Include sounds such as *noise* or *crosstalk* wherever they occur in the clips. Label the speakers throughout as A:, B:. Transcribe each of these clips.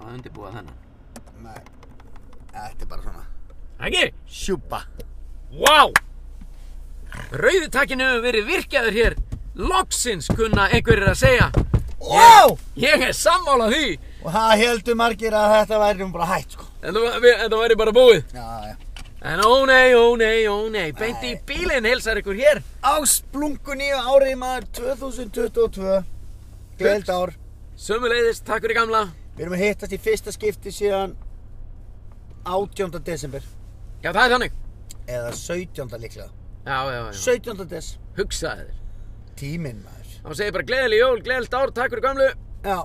A: að undirbúa þennan.
B: Nei, þetta er bara svona
A: Ekki?
B: Sjúpa
A: Vá! Wow! Rauðutakinu hefur verið virkjaður hér. Loksins kunna einhverjir að segja.
B: Ó!
A: Ég er sammála því.
B: Og það heldur margir að þetta væri um bara hætt sko
A: Þetta, var- við- þetta væri bara búið.
B: Já, já
A: En ó nei, ó nei, ó nei. Beint í
B: Nei.
A: bílinn heilsar ykkur hér.
B: Á splunkunni árið maður 2022 Gleild ár
A: Sömuleiðis, takk fyrir gamla.
B: Við erum að hittast í fyrsta skipti síðan 18. desember
A: Já, það er þannig.
B: Eða 17. líklega
A: Já, já, já.
B: 17. des
A: Hugsaði þér.
B: Tíminn maður
A: Þá segir bara gleðileg jól, gleðilegt ár, takk fyrir gamlu
B: Já,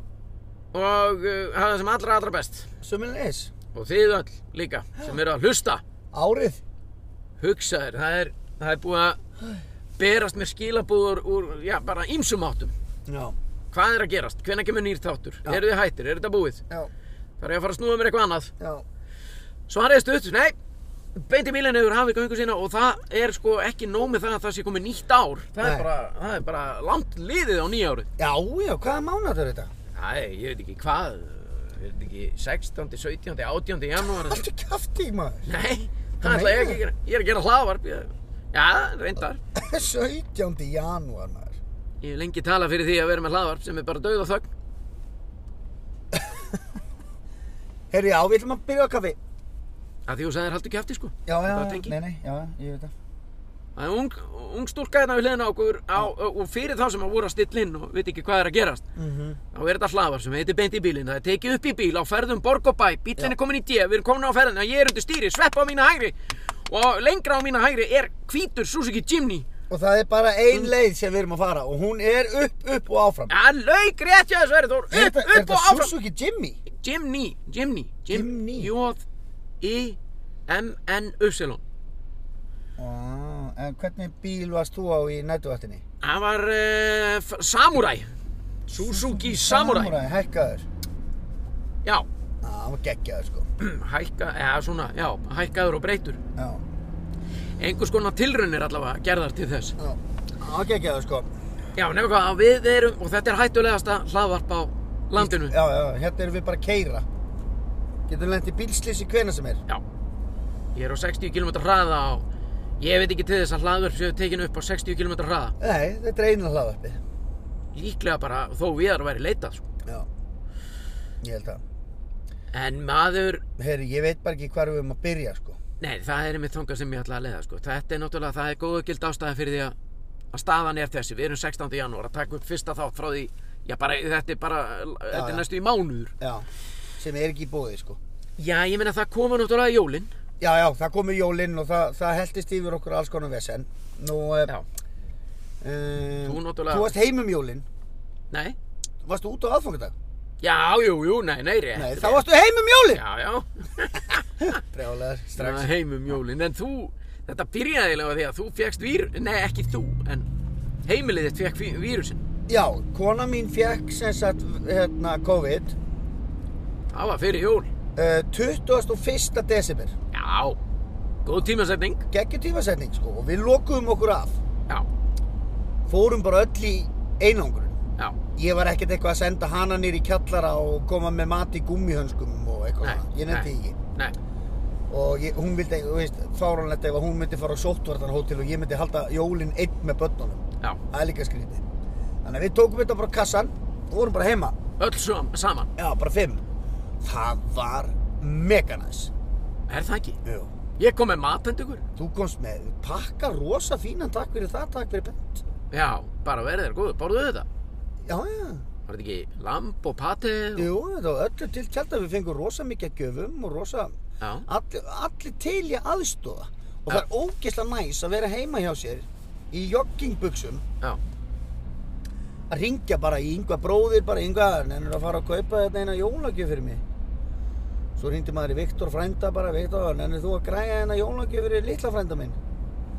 A: og uh, hafa það sem allra, allra best.
B: sömulegis
A: Og þið öll líka sem eru að hlusta.
B: Árið
A: Hugsaði þér, það er, það er búið að berast mér skilabúður úr, já, bara ímsum áttum.
B: Já,
A: Hvað er að gerast? Hvenær kemur nýr þáttur?
B: Já.
A: Eru þið hættir? Er þetta búið?
B: já,
A: Þarf ég að fara að snúa mér eitthvað annað?
B: já
A: Svarið er stutt, nei, beinti bílinn hefur hafið göngu sína og það er sko ekki nóg með það að það sé komið nýtt ár. Það er
B: Nei.
A: bara, það er bara langt liðið á nýjárið.
B: Já, já, hvaða mánuð er þetta?
A: Æ, ég veit ekki hvað, ég veit ekki 16., 17., 18. janúar.
B: Haldur kjafti maður *laughs*
A: Nei, það
B: Hvað
A: ætla ég
B: meinar?
A: ekki að gera. Ég er að gera hlaðvarp. ég- Já, reyndar.
B: 17. janúar maður
A: Ég hef lengi talað fyrir því að vera með hlaðvarp sem er bara dauð og þögn.
B: Herri, já, við ætlum að byrja á kaffi
A: Það því þú sagðir haldu kæfti sko.
B: Já, já,
A: Það
B: já,
A: tengi.
B: nei, nei, já, ég veit það
A: Það er ung, ung stúlka hérna við hliðina á okkur á, og fyrir þá sem að voru að stilla inn og veit ekki hvað er að gerast.
B: Mhm.
A: Þá er þetta hlaðvarp sem heitir beint í bílinn. Það er tekið upp í bíl á ferðum borg og bæ. Bílinn er komin í dje, við erum komin á ferðina, ég er undir stýri, svepp á mína hægri. Og lengra á mína hægri er hvítur Suzuki Jimny.
B: Og það er bara ein leið sem við erum að fara og hún er upp, Mm. upp og áfram.
A: Það lauk rétt hjá þessu verið Þór.
B: Er
A: Upp,
B: þetta- er
A: upp og
B: þetta
A: áfram.
B: Suzuki Jimmy?
A: Jimny, Jimny,
B: Jimny.
A: J-I-M-N-Y.
B: Ah, en hvernig bíl varst þú á í nætuvættinni?
A: Það var uh, Samurai Suzuki Samurai,
B: hækkaður.
A: Já, *clears throat*
B: Já, ah, hann var geggjaður sko.
A: hækka, eða svona, já, hækkaður og breytur
B: Já,
A: Einhvers konar tilraunir allavega gerðar til þess
B: já, hann var geggjaður sko.
A: Já, nefnum hvað, við erum, og þetta er hættulegasta hlaðvarp á landinu
B: Já, já, hérna erum við bara að keyra. Getum lent í bílslýsi hvena sem er.
A: Já, ég er á 60 km hraða á Ég veit ekki til þess að hlaðvarp séu tekin upp á 60 km hraða
B: Nei, þetta er eina hlaðvarpið.
A: Líklega bara þó við erum væri leitað sko.
B: Já, ég held það.
A: En maður,
B: Herri, ég veit bara ekki hvar við erum að byrja sko.
A: nei, það er einmitt þangað sem ég ætla að leiða sko. Þetta er náttúrulega, það er góðu gild ástæða fyrir því að, að staðan er þessi Við erum 16. janúar að taka upp fyrsta þátt frá því Já, bara, þetta er bara, þetta er
B: já.
A: næstu í mánuður
B: Já, sem er ekki í bóði sko.
A: Já, ég meina það koma náttúrulega jólin
B: Já, já, það komu jólinn og það, það heldist yfir okkur alls konar vesen. Nú,
A: Já,
B: Um,
A: Þú náttúrulega-
B: Þú varst heim um jólinn.
A: nei,
B: Varstu út á aðfangadag?
A: já, jú, jú, nei, nei, rétt
B: Nei,
A: rétt.
B: þá varstu heim um jólinn!
A: Já, já,
B: Brjálegar, strax.
A: strax heim um jólin En þú, þetta byrjaði eiginlega á því að þú fékkst vír Nei, ekki þú, en heimilið þitt fekk fí- vírusinn
B: Já, kona mín fekk sem sagt hérna COVID
A: Það var fyrir jól
B: uh, 21. desember.
A: Já, góð tímasetning
B: Geggjur tímasetning sko og við lokuðum okkur af.
A: Já,
B: Fórum bara öll í einangrun.
A: já,
B: Ég var ekkert eitthvað að senda hana nýr í kjallara og koma með mat í gummihönskum og eitthvað.
A: Nei,
B: svona. ég nefndi
A: nei.
B: ekki.
A: nei,
B: Og ég, hún vildi, þú veist, fáránlegt ef að hún myndi fara á sóttvartanhótel og ég myndi halda jólinn einn með börnunum.
A: já
B: Það er líka skrítið. Þannig að við tókum þetta bara á kassan og vorum bara heima.
A: Öll sam- saman,
B: Já, bara fimm. Það var meganæs.
A: er það ekki?
B: Jú.
A: Ég kom með matend ykkur
B: Þú komst með pakka rosa fínan, takk fyrir það, takk fyrir bent.
A: Já, bara verið þér góð, borðuðu þetta?
B: Já, já.
A: Var þetta ekki lamb og pati? og-
B: Jú, þetta var öllu til tjálta. Við fengum rosa mikið að gjöfum og rosa...
A: Já,
B: Allir, allir til í aðstóða. Og
A: Já.
B: það er ógeðslega næs að vera heima hjá sér í joggingbuksum
A: já,
B: að ringja bara í yngva bróðir, bara yngva, nennir að fara að kaupa þetta eina jólagjöf fyrir mig. Svo ringdi maður í Viktor frænda bara, Viktor, nennir þú að græja eina jólagjöf fyrir litla frænda minn?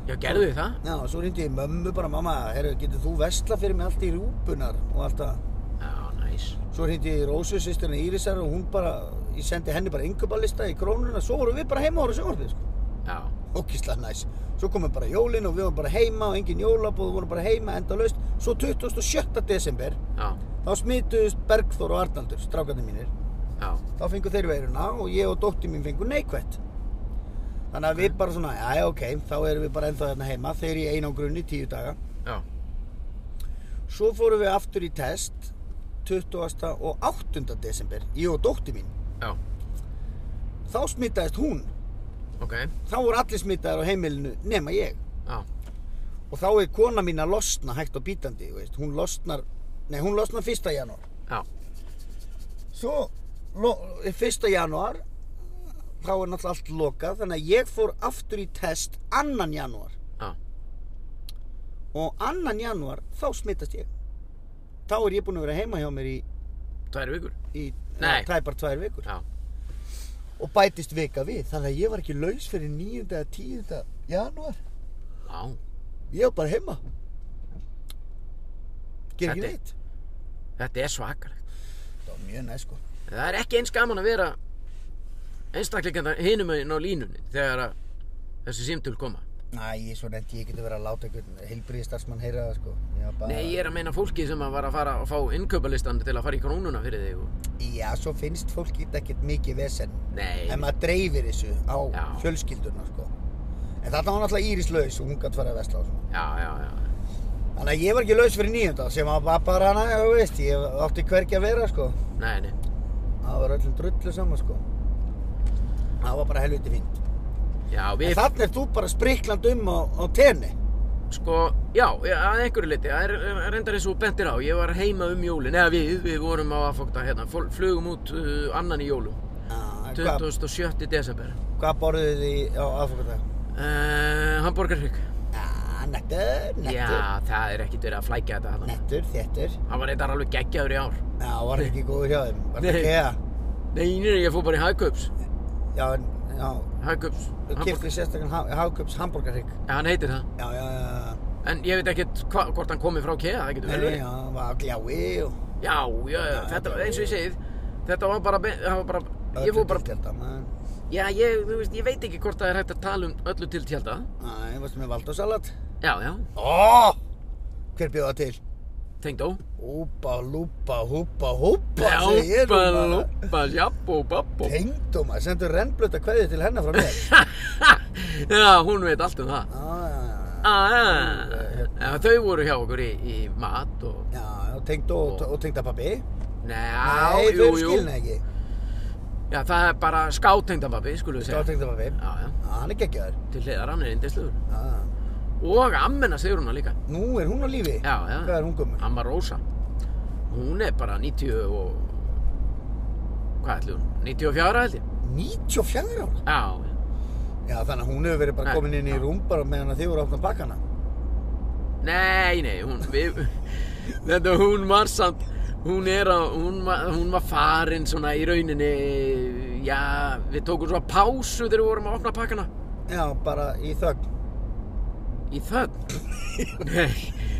A: já, gerðu þið það?
B: Já, svo ringdi ég í mömmu bara, mamma, herru, getur þú vesla fyrir mig allt í rúpunar og allt það.
A: Já, næs
B: Svo ringdi ég í Rósu, sýsturinn Írisar og hún bara, ég sendi henni bara yngjöpalista í krónuna, svo vorum við bara heima og voru sjónvarpið, sko.
A: Já,
B: Ókíslega næs. Svo komum bara jólin og við vorum bara heima og engin jólabóð, vorum bara heima endalaust. Svo 27. desember,
A: já,
B: þá smituðust Bergþór og Arnaldur, strákarnir mínir
A: já
B: þá fengu þeir veiruna og ég og dóttir mín fengu neikvætt þannig að við bara svona, já ok, þá erum við bara ennþá þarna heima þeir í einangrunni tíu daga
A: já,
B: svo fórum við aftur í test 20. og 8. desember ég og dóttir mín
A: já,
B: þá smitaðist hún
A: ok,
B: þá voru allir smitaðar á heimilinu nema ég
A: já,
B: og þá er kona mín að losna hægt og bítandi þú veist. hún losnar, nei hún losnar 1. janúar
A: já,
B: svo lo, 1. janúar þá er náttúrulega allt lokað þannig að ég fór aftur í test 2. janúar
A: já,
B: og 2. janúar þá smittast ég þá er ég búin að vera heima hjá mér í,
A: tvær vikur,
B: í
A: Nei.
B: eh, tæpar tvær vikur
A: já,
B: og bætist vika við þannig að ég var ekki laus fyrir 9. eða 10. janúar
A: já,
B: ég var bara heima ger ekki
A: Þetta-
B: neitt
A: þetta er svakalegt.
B: það var mjög næ sko
A: Það er ekki eins gaman að vera einstakleikanda hinum meginn á línunni þegar að þessi símtöl koma.
B: Næ, svo nefndi ég geti verið að láta einhvern heilbriðistarsmann heyra það sko Ég var bara...
A: Nei, ég er að meina fólki sem að var að fara að fá innkaupalistan til að fara í krónuna fyrir þig og...
B: Já, svo finnst fólk þetta ekkert mikið vesen
A: Nei,
B: En maður dreifir þessu á
A: Já.
B: fjölskyldurna sko En þarna var náttúrulega Íris laus og hún gætt farið að vesla á svona
A: já, já, já,
B: Þannig að ég var ekki laus fyrir nýjönda sem að var bara hana, já veist, ég átti hvergi að vera sko
A: nei, nei,
B: Það var öllum drullu saman sko Það var bara helviti fínt
A: já, við...
B: En þarna er þú bara sprikland um á, á tenni
A: Sko, já, ég- að einhverju liti, það er er reyndar eins og þú bentir á, ég var heima um jólin, eða við, við vorum á aðfokta hérna, fól- flugum út uh, annan í jólum,
B: Ah, Hvað
A: 27. desember,
B: hva borðuðu þið á aðfokkardaginn?
A: uh, Hamburgerhrygg,
B: Ah, nettur, nettur,
A: já, það er ekkert verið að flækja þetta hann,
B: nettur, þéttur
A: hann var reyndar alveg geggjaður í ár,
B: Já, var ekki góður hjá þeim, var
A: Nei.
B: ekki hea
A: nei, nei, ég fór bara í Hagkaups,
B: Já, en, já,
A: Hagkaups,
B: kipti sérstakann Háköps hamburgarhygg
A: ja, hann heitir það,
B: Já, já, já,
A: en ég veit ekkert hva, hvort hann komi frá KEA, það getur
B: já,
A: vel
B: já,
A: verið,
B: já, hann var á glái og
A: já, já, já, þetta,
B: já,
A: eins og ég
B: já.
A: segið, þetta var bara, be- það var bara, ég fór bara,
B: Þetta, hérna, maður
A: Já, ég, þú veist, ég veit ekki hvort það er hægt að tala um öllu til tjálta.
B: Æ, varstu með valdasalat?
A: Já, já,
B: Ó, hver bjóð það til?
A: tengdó.
B: Úpa, lúpa, húpa, húpa, segi ég
A: Ljópa,
B: nú bara
A: lópa, sjabbó, babbó.
B: Tengdum að sendu rennblöta kveðið til hennar frá mér
A: *laughs* Já, hún veit allt um það.
B: Já, já, já,
A: Ah, já, já, þau voru hjá okkur í, í mat og...
B: já, já, tengd og, og tengda pappi
A: Njá,
B: Nei,
A: jú,
B: þau
A: jú.
B: skilna ekki
A: Já, það er bara skátengdababbi, skulum við
B: Sá
A: segja.
B: tengda pappi,
A: Já, já,
B: hann er geggjaður
A: til hliðar, hann er indisluður.
B: Já,
A: Og ammena Sigruna líka.
B: Nú er hún á lífi?
A: Já, já.
B: Hvað er hún gömur?
A: Amma Rósa. Hún er bara 90 og... Hvað ætli hún? 94 held ég.
B: 94 ára?
A: Já, já.
B: Já, þannig að hún hefur verið bara
A: Nei,
B: komin inn í
A: já.
B: rúm bara meðan að þið voru að opna bakkana.
A: Nei, nei, hún, við, þetta hún var samt, hún er að, hún, var- hún var farin svona í rauninni, já, við tókum svona pásu þegar við vorum að opna pakkana.
B: Já, bara í þögn.
A: Í
B: *laughs*
A: þögn? nei,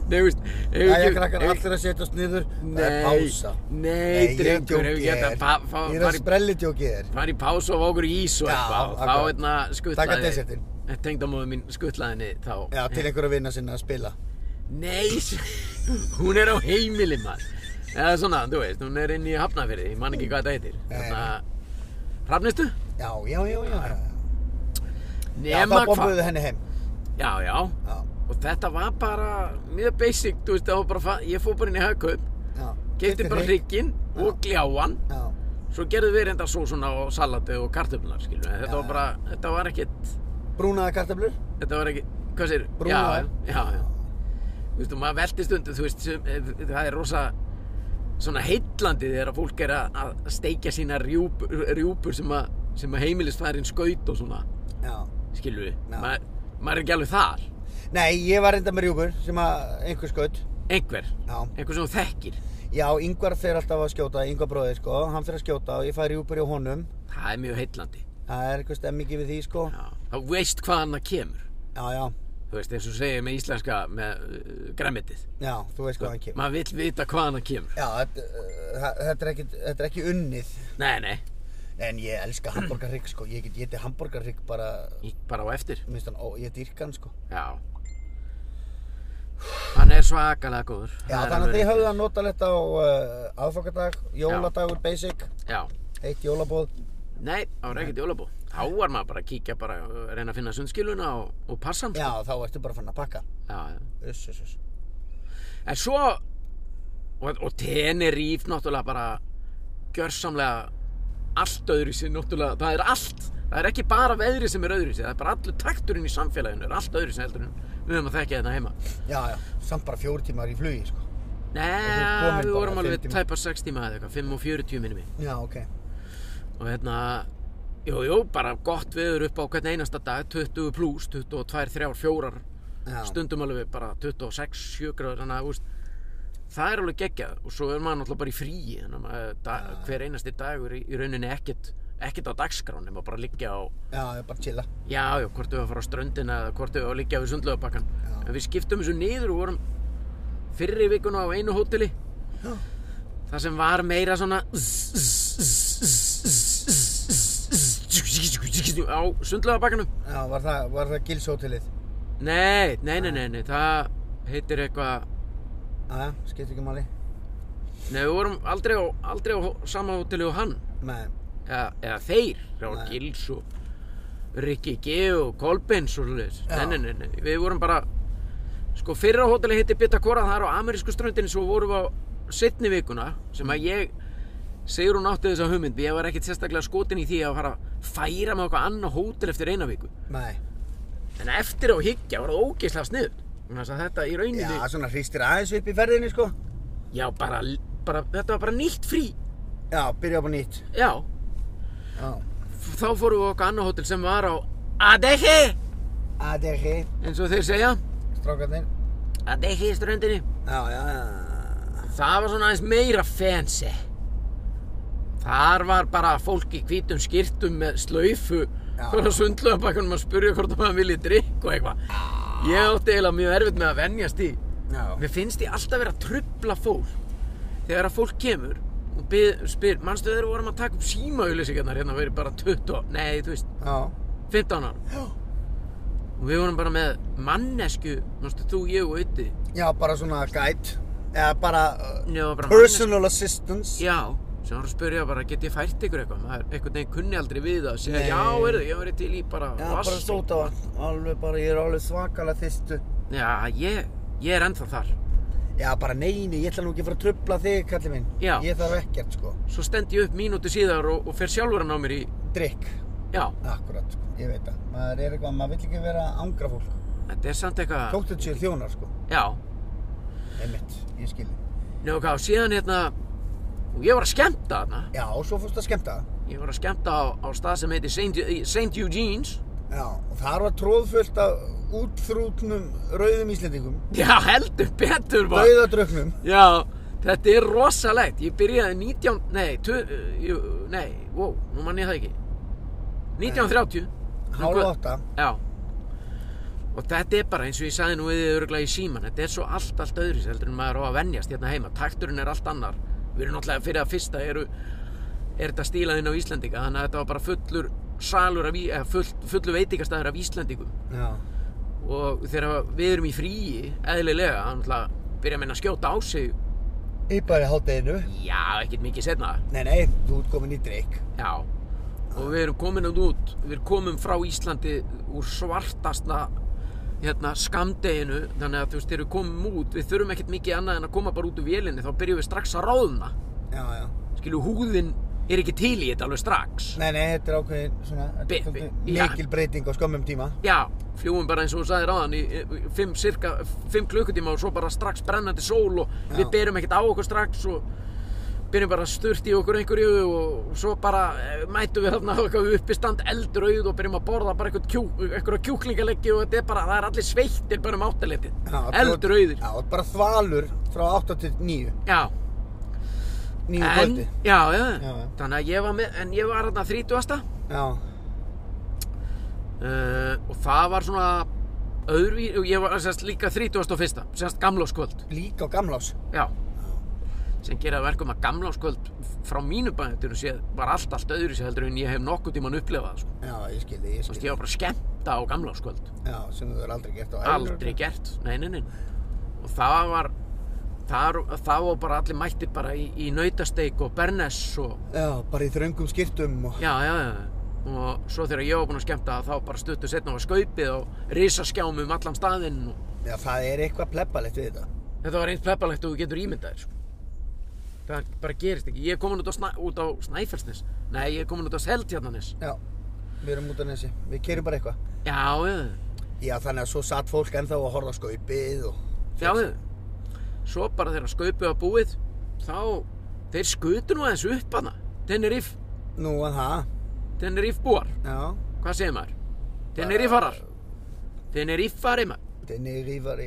A: nei, veist, hefur
B: Jæja, krakkar, allir að setjast niður. Það er pása.
A: Nei,
B: ég
A: drengur,
B: djóki
A: hefur gett
B: þér.
A: að pa- fa-
B: Ég er að
A: fara í-
B: sprelli djóki þér.
A: fara í pásu og fá okkur ís og
B: Já,
A: eitthvað, og þá
B: akkurat.
A: hérna
B: Taka
A: skuttlaði,
B: desertinn.
A: tengdamóðu mín skuttlaði henni þá.
B: Já, til einhverja vinna sinna að spila.
A: Nei, *laughs* s- hún er á heimili maður Eða svona, þú veist, hún er inn í Hafnafyrði Ég man ekki hvað þetta heitir
B: Nei.
A: Þarna, Hrafnistu?
B: Já, já, já, já. já. Já, þá
A: Nema hvað
B: bombuðu henni heim.
A: Já, já
B: Já,
A: Og þetta var bara mjög basic, þú veist, það var bara, fa- ég fór bara inn í hagkaup
B: já.
A: Kefti bara
B: hrygg.
A: hrygginn og gljáan
B: Já,
A: Svo gerðu við reynda sósuna og salati og kartöflunar, skilur við Þetta
B: Já.
A: var bara, þetta var ekkit,
B: brúnaða kartablur.
A: þetta var ekkit, hvað sér?
B: Brúnaðar.
A: Já, já, já Þú veist, og maður velti stundum, þú veist, sem, eh, það er rosa svona heitlandi þegar að fólk er að, að steikja sína rjúpur, rjúpur sem að, sem að heimilisfærin skaut og svona,
B: Já.
A: skilur við.
B: Já.
A: Maður maður er ekki alveg þar,
B: Nei, ég var reynda með rjúpur sem að einhver skaut.
A: einhver,
B: Já.
A: einhver sem þú þekkir.
B: Já, yngvar fer alltaf að skjóta, yngvar bróðið sko, hann fer að skjóta og ég fær rjúpur hjá honum.
A: Það er mjög heitlandi.
B: Það er eitthvað stemmingi við því sko.
A: Já. Það veist hvaðan það kemur.
B: Já, já,
A: Þú veist, eins og segir með íslenska, með uh, græmitið.
B: já, þú veist hvað hann kemur.
A: Maður vill vita hvaðan það kemur.
B: Já, þetta, uh, þa- þetta, er ekki, þetta er ekki unnið.
A: Nei, nei,
B: Nei, En ég elska hambúrgarrygg sko, ég get getið hambúrgarrygg bara,
A: í- bara á eftir.
B: minnst hann, ó, ég dýrka hann sko.
A: Já. Hann er svakalega góður. Það
B: Já,
A: er
B: þannig að
A: alveg
B: þið
A: rétt.
B: höfðu hann notalegt á uh, aðfokadag, jóladagur, basic,
A: Já,
B: eitt jólabóð
A: Nei, það var ekkert jólabó. Þá var maður bara að kíkja bara, uh, reyna að finna sundskiluna og, og passa hann.
B: Já, þá ertu bara fann að pakka
A: Já, já.
B: Uss, uss, uss
A: En svo, og, og Tenerife náttúrulega bara gjörsamlega allt öðru sér náttúrulega, það er allt, það er ekki bara veðrið sem er öðru sér, það er bara allur takturinn í samfélaginu, er allt öðru sér heldur en við höfum að þekka þetta heima.
B: Já, já, samt bara fjóri tímar í flugi, sko
A: Nei,
B: komin
A: við
B: bara
A: vorum
B: fimm
A: alveg
B: tíma.
A: tæpa 6 tíma eða eitthvað, 5 og 40 minni mig.
B: Já, ok
A: Og hérna, jú, jú, bara gott veður upp á hvern einasta dag, 20 pluss, 22, 3, 4
B: Já,
A: stundum alveg bara 26, 7 gráður þannig að úst, það er alveg geggjað og svo er maður náttúrulega bara í fríi þannig að maður- dag,
B: Já.
A: hver einasti dagur í, í rauninni ekkert ekkert á dagskrán nema bara liggja á
B: já, ég er bara að chilla
A: já, já, hvort við að fara á ströndina eða hvort við að liggja við sundlaugabakkan
B: Já.
A: en við skiptum þessu niður og vorum fyrri vikuna á einu hóteli
B: Já.
A: það sem var meira svona á sundlaugabakkanum
B: Já, var það, var það gilshótelið
A: nei, nei, nei, nei, nei, það heitir eitthvað
B: Já, skipt ekki máli
A: Nei, við vorum aldrei á, aldrei á sama hóteli og hann
B: Nei,
A: eða, eða þeir, það var
B: Nei.
A: Gils og Rikki G og Kolbins og svoleiðis
B: Já.
A: nei, nei, nei, nei, við vorum bara sko fyrra hóteli hitti Bitakora það er á amerísku ströndinni svo vorum við á setni vikuna sem að ég segir hún átti þessa hugmynd ég var ekkit sérstaklega skotin í því að fara að færa með okkur annað hótel eftir eina viku
B: nei
A: en eftir á higgja var það ógeðslega sniður þannig að þetta í
B: Já,
A: rauninni já,
B: svona hristir aðeins upp í ferðinni, sko
A: bara, bara, þetta var bara nýtt frí
B: Já, byrja upp á nýtt
A: já,
B: Já
A: þá fórum við á okkar annað hótel sem var á Adehi
B: Adehi
A: eins og þeir segja
B: Strákarnir
A: Adehi í ströndinni
B: Já, já, já
A: það var svona aðeins meira fancy þar var bara fólk í hvítum skýrtum með slaufu
B: Já.
A: fyrir að sundlaða bakkunum að spurja hvort maður vilji drikk og eitthvað ég átti eiginlega mjög erfitt með að venjast í
B: Já
A: mér finnst ég alltaf vera að trubla fólk þegar að fólk kemur og bið, spyr, manstu þegar við vorum að taka upp símaauðlýsingarnar hérna verið bara 20, nei þú veist
B: Já
A: 15 ára
B: Já.
A: og við vorum bara með mannesku nástu, þú, ég og Ötti
B: Já, bara svona guide Eða bara uh,
A: Nei, það var bara
B: Personal assistance
A: já, sem var að spyrja bara get ég fært ykkur eitthvað maður einhvern veginn kunni aldrei við það segja,
B: Nei.
A: já, er ég hef verið til í bara
B: Já, bara
A: vatnsdrykk."
B: stóta vatn Alveg bara, ég er alveg svakalega þystu
A: já, ég, ég er ennþá þar
B: Já, bara neini, ég ætla nú ekki að fara að trubla þig, kalli minn
A: Já.
B: Ég þarf ekkert, sko
A: svo stend ég upp mínúti síðar og, og fer sjálfur hann á mér í
B: Drykk
A: já,
B: Akkurat, sko, ég veit það Maður er eitthvað, maður vill ekki vera að angra fólk
A: þetta er samt eitthvað
B: Þótt þetta séu þjónar, sko
A: já,
B: Einmitt, ég skil
A: nefnum hvað, og síðan hérna og ég var að skemmta þarna
B: Já, og svo fórst að skemmta
A: ég var að skemmta á, á stað sem heiti St. Eu- St. Eugene's
B: Já, og þar var tróðfullt af útþrútnum rauðum íslendingum
A: já, heldur betur bara.
B: Dauðadröknum
A: Já, þetta er rosalegt. Ég byrjaði 19... Nei, tö, eh, jú, nei, wow, nú mann ég það ekki. 1930.
B: Hálf átta
A: Já. Og þetta er bara eins og ég sagði nú við þið öruglega í síman. Þetta er svo allt, allt öðru heldur en maður á að venjast hérna heima. Takturinn er allt annar. Við erum náttúrulega fyrir að fyrsta eru, er þetta stílað inn á Íslandinga. Þannig að þetta var bara fullur salur af, í- eða full, fullur veitingastæður af Íslandingum
B: Já,
A: og þegar við erum í fríi eðlilega, þannig að byrja að minna að skjóta á sig
B: í bara hátteginu
A: já, ekkert mikið setna
B: Nei, nei, þú ert komin í drykk
A: Já, og við erum komin út út, við erum komin frá Íslandi úr svartasta hérna, skamdeginu, þannig að þú veist, þegar við komum út, við þurfum ekkert mikið annað en að koma bara út úr vélinni, þá byrjum við strax að ráðna.
B: Já, já
A: Skilju, húðin er ekki til í þetta alveg strax.
B: Nei, nei, þetta er ákveðin svona þetta er
A: Bi- bi-
B: svolítið
A: já.
B: Mikil breyting á skömmum tíma
A: Já, fljúum bara eins og þú sagðir ráðan í eh, fimm, cirka, fimm klukkutíma og svo bara strax brennandi sól og
B: Já.
A: við berum ekkert á okkur strax og byrjum bara að sturt í okkur einhverju og svo bara eh, mætum við þarna á eitthvað uppistand eldrauð og byrjum að borða bara eitthvað, kjú, eitthvað kjúklingaleggi og þetta er bara, það er allir sveittir bara um áttaletið,
B: Já, þú-
A: eldrauðir
B: Já, þú ert bara þvalur frá 8 til 9
A: Já,
B: 9
A: en,
B: kvöldi
A: já, já,
B: Já, já.
A: þannig að ég var með, en ég var þarna þrítugasta
B: Já,
A: uh, og það var svona öðru, og ég var sérst líka þrítugasta og fyrsta, sérst gamlóskvöld
B: líka á gamlás
A: Já sem gera að verkum að gamláskvöld frá mínu bændinu séð var allt allt öðru sér heldur en ég hef nokkuð tíman upplefað sko.
B: Já, ég skil þig,
A: Þú
B: ég skil
A: veist, ég var bara að skemmta á gamláskvöld
B: Já, sem þú er aldrei gert á ævinni.
A: aldrei gert, nei, nei, nei og það var Þar, þá var bara allir mættir bara í, í nautasteik og bernes og
B: Já, bara í þröngum skiptum og...
A: já, já, já og svo þegar ég var búinn að skemmta þá bara stuttu setna var skaupið og risaskjám um allan staðinn og
B: Já, það er eitthvað plebbalegt við þetta.
A: þetta var eins pleppalegt og þú getur ímyndaðir sko. það bara gerist ekki ég er komin út á, snæ, út á Snæfellsnes nei, ég er komin út á Seltjarnanes
B: Já, við erum út á nesi. Við kerum bara eitthvað.
A: já, já,
B: Já, þannig að svo satt fólk ennþá að horfa á skaupið og...
A: já, já svo bara þegar skaupið var búið þá, þeir skutu nú aðeins upp hana Tenerife,
B: Nú, að það.
A: Tenerife búar
B: Já.
A: hvað segir maður? Tenerife farar Tenerife farið maður
B: Denni Rífari.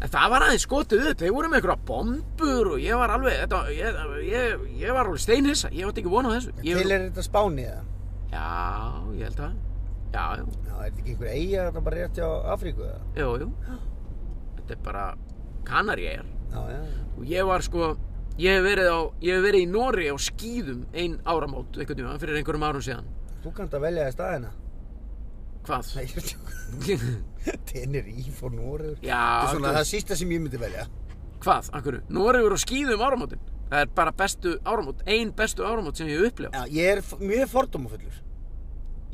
A: En það var aðeins skotið upp, þeir voru með einhverja bombur og ég var alveg, þetta, ég, ég, ég var alveg steinhissa, ég átti ekki vona þessu. Ég,
B: Til er þetta Spáni eða?
A: Já, ég held það. Já, jú,
B: Já, er þetta ekki einhver eiga þetta bara rétt hjá Afríku eða?
A: jú, jú. Þetta er bara kanarjæjar.
B: Já, já, já.
A: Og ég var sko, ég hef verið, á, ég hef verið í Nóri á skýðum ein áramót, einhvern tíma, fyrir einhverjum árum síðan.
B: Þú kannst að velja þér staðina.
A: Hvað?
B: Nei, ég er *laughs* tjók. Denni Ríf og Noregur.
A: *laughs* Já,
B: Þetta er svona
A: þú-
B: það sísta sem ég myndi velja.
A: hvað, akkur, Nóri voru á skýðum áramótin. Það er bara bestu áramót, ein bestu áramót sem ég hef upplifað.
B: Já, ég er f- mjög fordómafullur.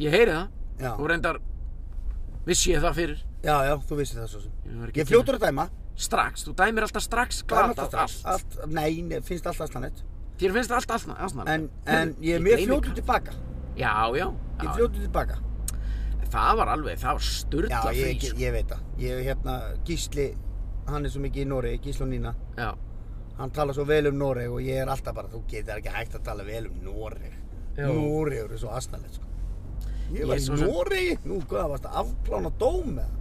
A: Ég heyri það.
B: Já.
A: og reyndar vissi ég það fyrir
B: Já, já, þú vissir það svo sem.
A: Ég var ekki
B: Ég er fljótur að dæma.
A: strax, þú dæmir alltaf strax
B: Dæma
A: glatað
B: alltaf strax. Allt, nei, nei, finnst alltaf slannett.
A: þér finnst allt alltaf aðsnarlega
B: En, en ég er mjög fljótur tilbaka.
A: já, já,
B: Ég
A: já.
B: er fljótur tilbaka.
A: það var alveg, það var
B: Já,
A: sturla
B: ég,
A: frís
B: ég, ég veit það. Ég hef hérna Gísli, hann er svo mikið í Noregi, Gísli og Nína.
A: já,
B: Hann talar svo vel um Noreg og ég er alltaf bara, þú getur ekki hægt að tala vel um Noreg.
A: Já.
B: Noregur er svo asnalegt, sko. Ég
A: Ég
B: var
A: svo
B: í
A: sem-
B: Noregi, nú hvað, varst að afplána dóm eða?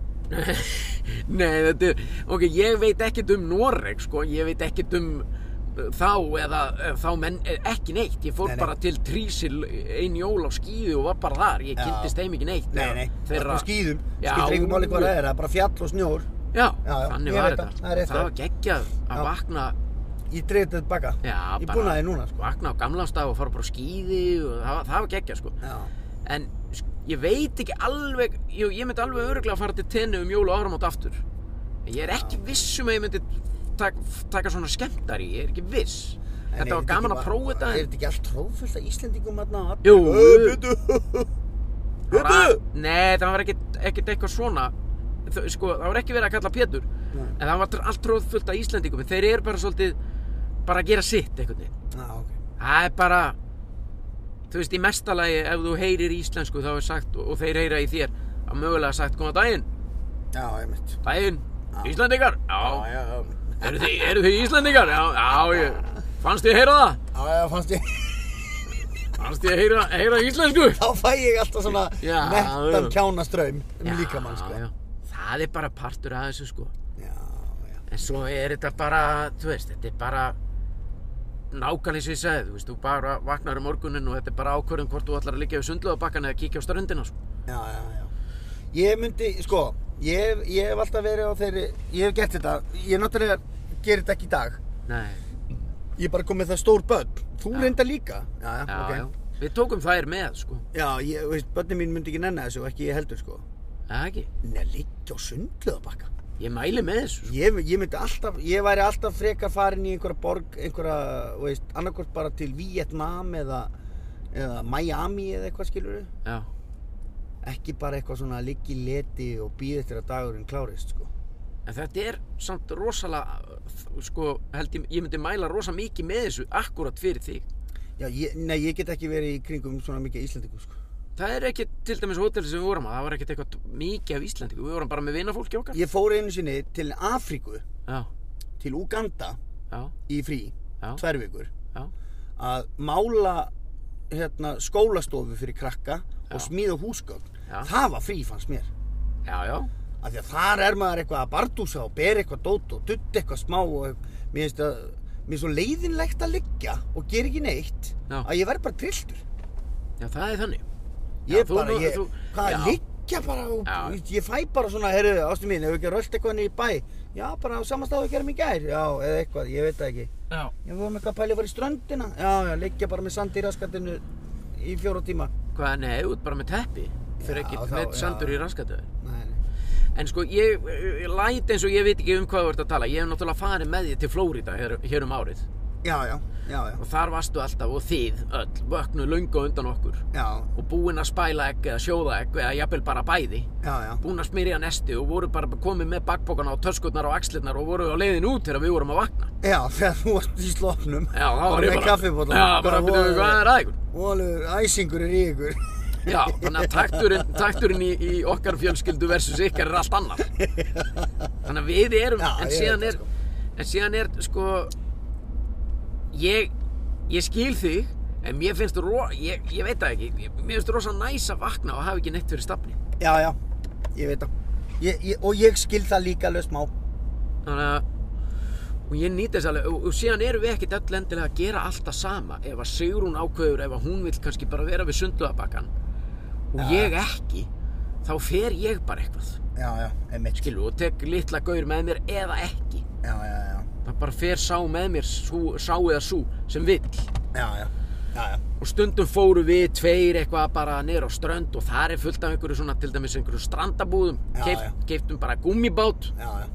A: nei, þetta er ok, ég veit ekkert um Noreg sko, ég veit ekkert um uh, þá eða uh, þá menn, eh, ekki neitt ég fór
B: Nei, nei.
A: bara til Trísil ein jól á skíðu og var bara þar ég
B: Já.
A: kynntist þeim ekki neitt
B: Nei, nei,
A: þeirra,
B: það er skýðum,
A: Já.
B: skiptir einhver máli hvað það er, það er bara fjall og snjór.
A: já,
B: Já, já,
A: þannig
B: ég
A: var
B: veit það,
A: þetta
B: það er rétt
A: það
B: hjá
A: var geggjað að
B: Já.
A: vakna
B: Ég dreif þetta tilbaka.
A: Já,
B: ég
A: bara-
B: búin að þið núna, sko.
A: vakna á gamlanstaf og fara bara á skíði og það, var- það var geggja sko
B: Já,
A: en sk- ég veit ekki alveg jú, ég myndi alveg öruglega fara til tenni um jól og áramót aftur en ég er ekki viss um að ég myndi tak, taka svona skemmtari, ég er ekki viss
B: En er
A: þetta var
B: ekki
A: gaman
B: bara-
A: að prófa þetta
B: Er
A: en-
B: þetta ekki allt tróðfullt af Íslendingum hérna?
A: Jú.
B: Byrju,
A: það var-
B: byrju.
A: Nei, það var ekkit, ekkit eitthvað svona Þau- sko, það var ekki verið að kalla Pétur
B: Nei.
A: en það var tr- allt tróð fullt af Íslendingum en þeir eru bara svolítið bara að gera sitt einhvern veginn
B: Já, ok.
A: Það er bara Þú veist, í mesta lagi ef þú heyrir íslensku þá er sagt, og þeir heyra í þér að mögulega sagt, koma daginn,
B: Já, ég mitt.
A: daginn Íslendingar,
B: Já,
A: já,
B: já, já.
A: eru þið, eru þið Íslendingar já, já, ég, fannst ég heyra það
B: Já, já, fannst ég,
A: fannst ég heyra, heyra íslensku
B: þá fæ ég alltaf svona
A: Já,
B: nettan
A: já.
B: kjánaströym um
A: Já,
B: líkamann, sko.
A: já. það er bara partur af þessu sko
B: já, já.
A: en svo er þetta bara, þú veist, þetta er bara nákvæmlega sem ég segi, þú veist, þú bara vaknar um morgunin og þetta er bara ákvörðum hvort þú ætlar að liggja við sundlöðabakkan eða kíkja á ströndina sko.
B: Já, já, já. Ég myndi, sko, ég, ég hef alltaf verið á þeirri, ég hef gert þetta, ég náttúrulega gerir þetta ekki í dag.
A: Nei,
B: Ég er bara kom með það stór börn. Þú
A: Já.
B: reynda líka. Já, já,
A: já,
B: ok.
A: já, við tókum þær með sko
B: Já, ég, þú veist, börnin mín myndi ekki nenni þessu og ekki ég heldur, sko.
A: Það ekki.
B: Nei, liggja á sundlöðabakka.
A: Ég mæli með þessu. sko.
B: Ég, ég myndi alltaf, ég væri alltaf frekar farin í einhverja borg, einhverja, þú veist, annarkvort bara til Vietnam eða, eða Miami eða eitthvað skilur
A: Já.
B: Ekki bara eitthvað svona liggi leti og býð eftir að dagurinn klárist, sko.
A: En þetta er samt rosalega, sko, held ég, ég myndi mæla rosa mikið með þessu akkurat fyrir þig.
B: Já, ég, nei, ég get ekki verið í kringum svona mikið Íslandingum, sko.
A: Það er ekki til dæmis hótel sem við vorum að, það var ekkert eitthvað mikið af Íslandingu, við vorum bara með vinafólki okkar.
B: Ég fór einu sinni til Afríku,
A: Já,
B: til Uganda
A: já,
B: í frí,
A: já,
B: tvær vikur,
A: já,
B: að mála hérna, skólastofu fyrir krakka og
A: Já.
B: smíða húsgögn.
A: Já.
B: Það var frí, fannst mér.
A: já, já,
B: af því að þar er maður eitthvað að bardúsa og bera eitthvað dót og dutt eitthvað smá og mér finnst að mér er svo leiðinlegt að liggja og gera ekki neitt
A: Já.
B: að ég verð bara trilltur
A: já, það er þannig.
B: ég
A: Já, þú
B: bara,
A: nú-
B: ég,
A: þú-
B: hvað
A: já.
B: að liggja bara og,
A: Já.
B: ég fæ bara svona, herru, ástu mín hefur ekki að rölda eitthvað niður í bæ já, bara á samastáðu að gera mig í gær já, eða eitthvað, ég veit það ekki
A: Já.
B: ég vorum eitthvað að pæli að fara í ströndina já, já, liggja bara með sandi í raskatinu í fjóra tíma
A: Hvað, nei, út bara með teppi, fyrir
B: Já,
A: ekki
B: þá-
A: með
B: já.
A: sandur í raskatöðu.
B: nei, nei.
A: En sko, ég, ég læt eins og ég veit ekki um hvað þú ert að tala. Ég hef náttúrulega farið með þig til Flórída hér, hér um árið.
B: já, já, já, já,
A: Og þar varstu alltaf og þið öll vöknuð löngu á undan okkur.
B: já,
A: Og búin að spæla egg eða sjóða egg eða jafnvel bara bæði.
B: já, já.
A: Búin að smyrja nesti og voru bara komið með bakpokana og töskurnar og axlirnar og voru á leiðin út þegar við vorum að vakna.
B: Já, þegar þú varst í slopnum
A: Já, þá var ég
B: Með
A: bara...
B: kaffibólla
A: Já, bara byrjuðu hvað er að ykkur.
B: Ólur, æsingur er í ykkur *laughs*
A: Já, þannig að takturinn, takturinn í, í okkar fjölskyldu versus ykkar er allt annar. Þannig að við erum,
B: Já,
A: en
B: ég
A: síðan
B: veit
A: er,
B: það, sko.
A: en síðan er, sko, ég, ég skil þig, en mér finnst, ro, ég, ég veit það ekki, ég- mér finnst rosa næs að vakna og hafa ekki neitt fyrir stafni.
B: Já, já, ég veit það ég, ég, Og ég skil það líka löst má
A: Þannig að, og ég nýt þess alveg, og, og síðan erum við ekkert öll endilega að gera allt það sama, ef að Sigrún ákveður, ef að hún vill kannski bara vera við sundlöðabakkan, og
B: Já.
A: ég ekki, þá fer ég bara eitthvað.
B: Já, já, emitt skil
A: skilu, og tek litla gaur með mér eða ekki.
B: Já, já, já,
A: Það bara fer sá með mér, sú, sá eða sú, sem vill.
B: já, já, já, já.
A: Og stundum fóru við tveir eitthvað bara niður á strönd og þar er fullt af einhverju svona, til dæmis einhverju strandabúðum.
B: Já, já.
A: Keiftum bara gummibát
B: Já, já,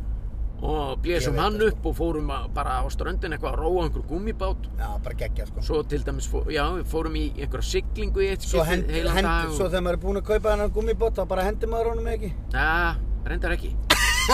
A: og blésum
B: Ég veit
A: hann
B: það,
A: upp og fórum að, bara á ströndin eitthvað að róa einhverju gummibát.
B: já, bara geggja sko
A: Svo til dæmis, fó, já, við fórum í einhverja siglingu í eitt
B: Svo, hend,
A: heilan
B: hend,
A: dag.
B: svo þegar maður er búinn að kaupa hennar gummibót þá bara hendir maður honum ekki
A: Já, reyndar ekki. *laughs*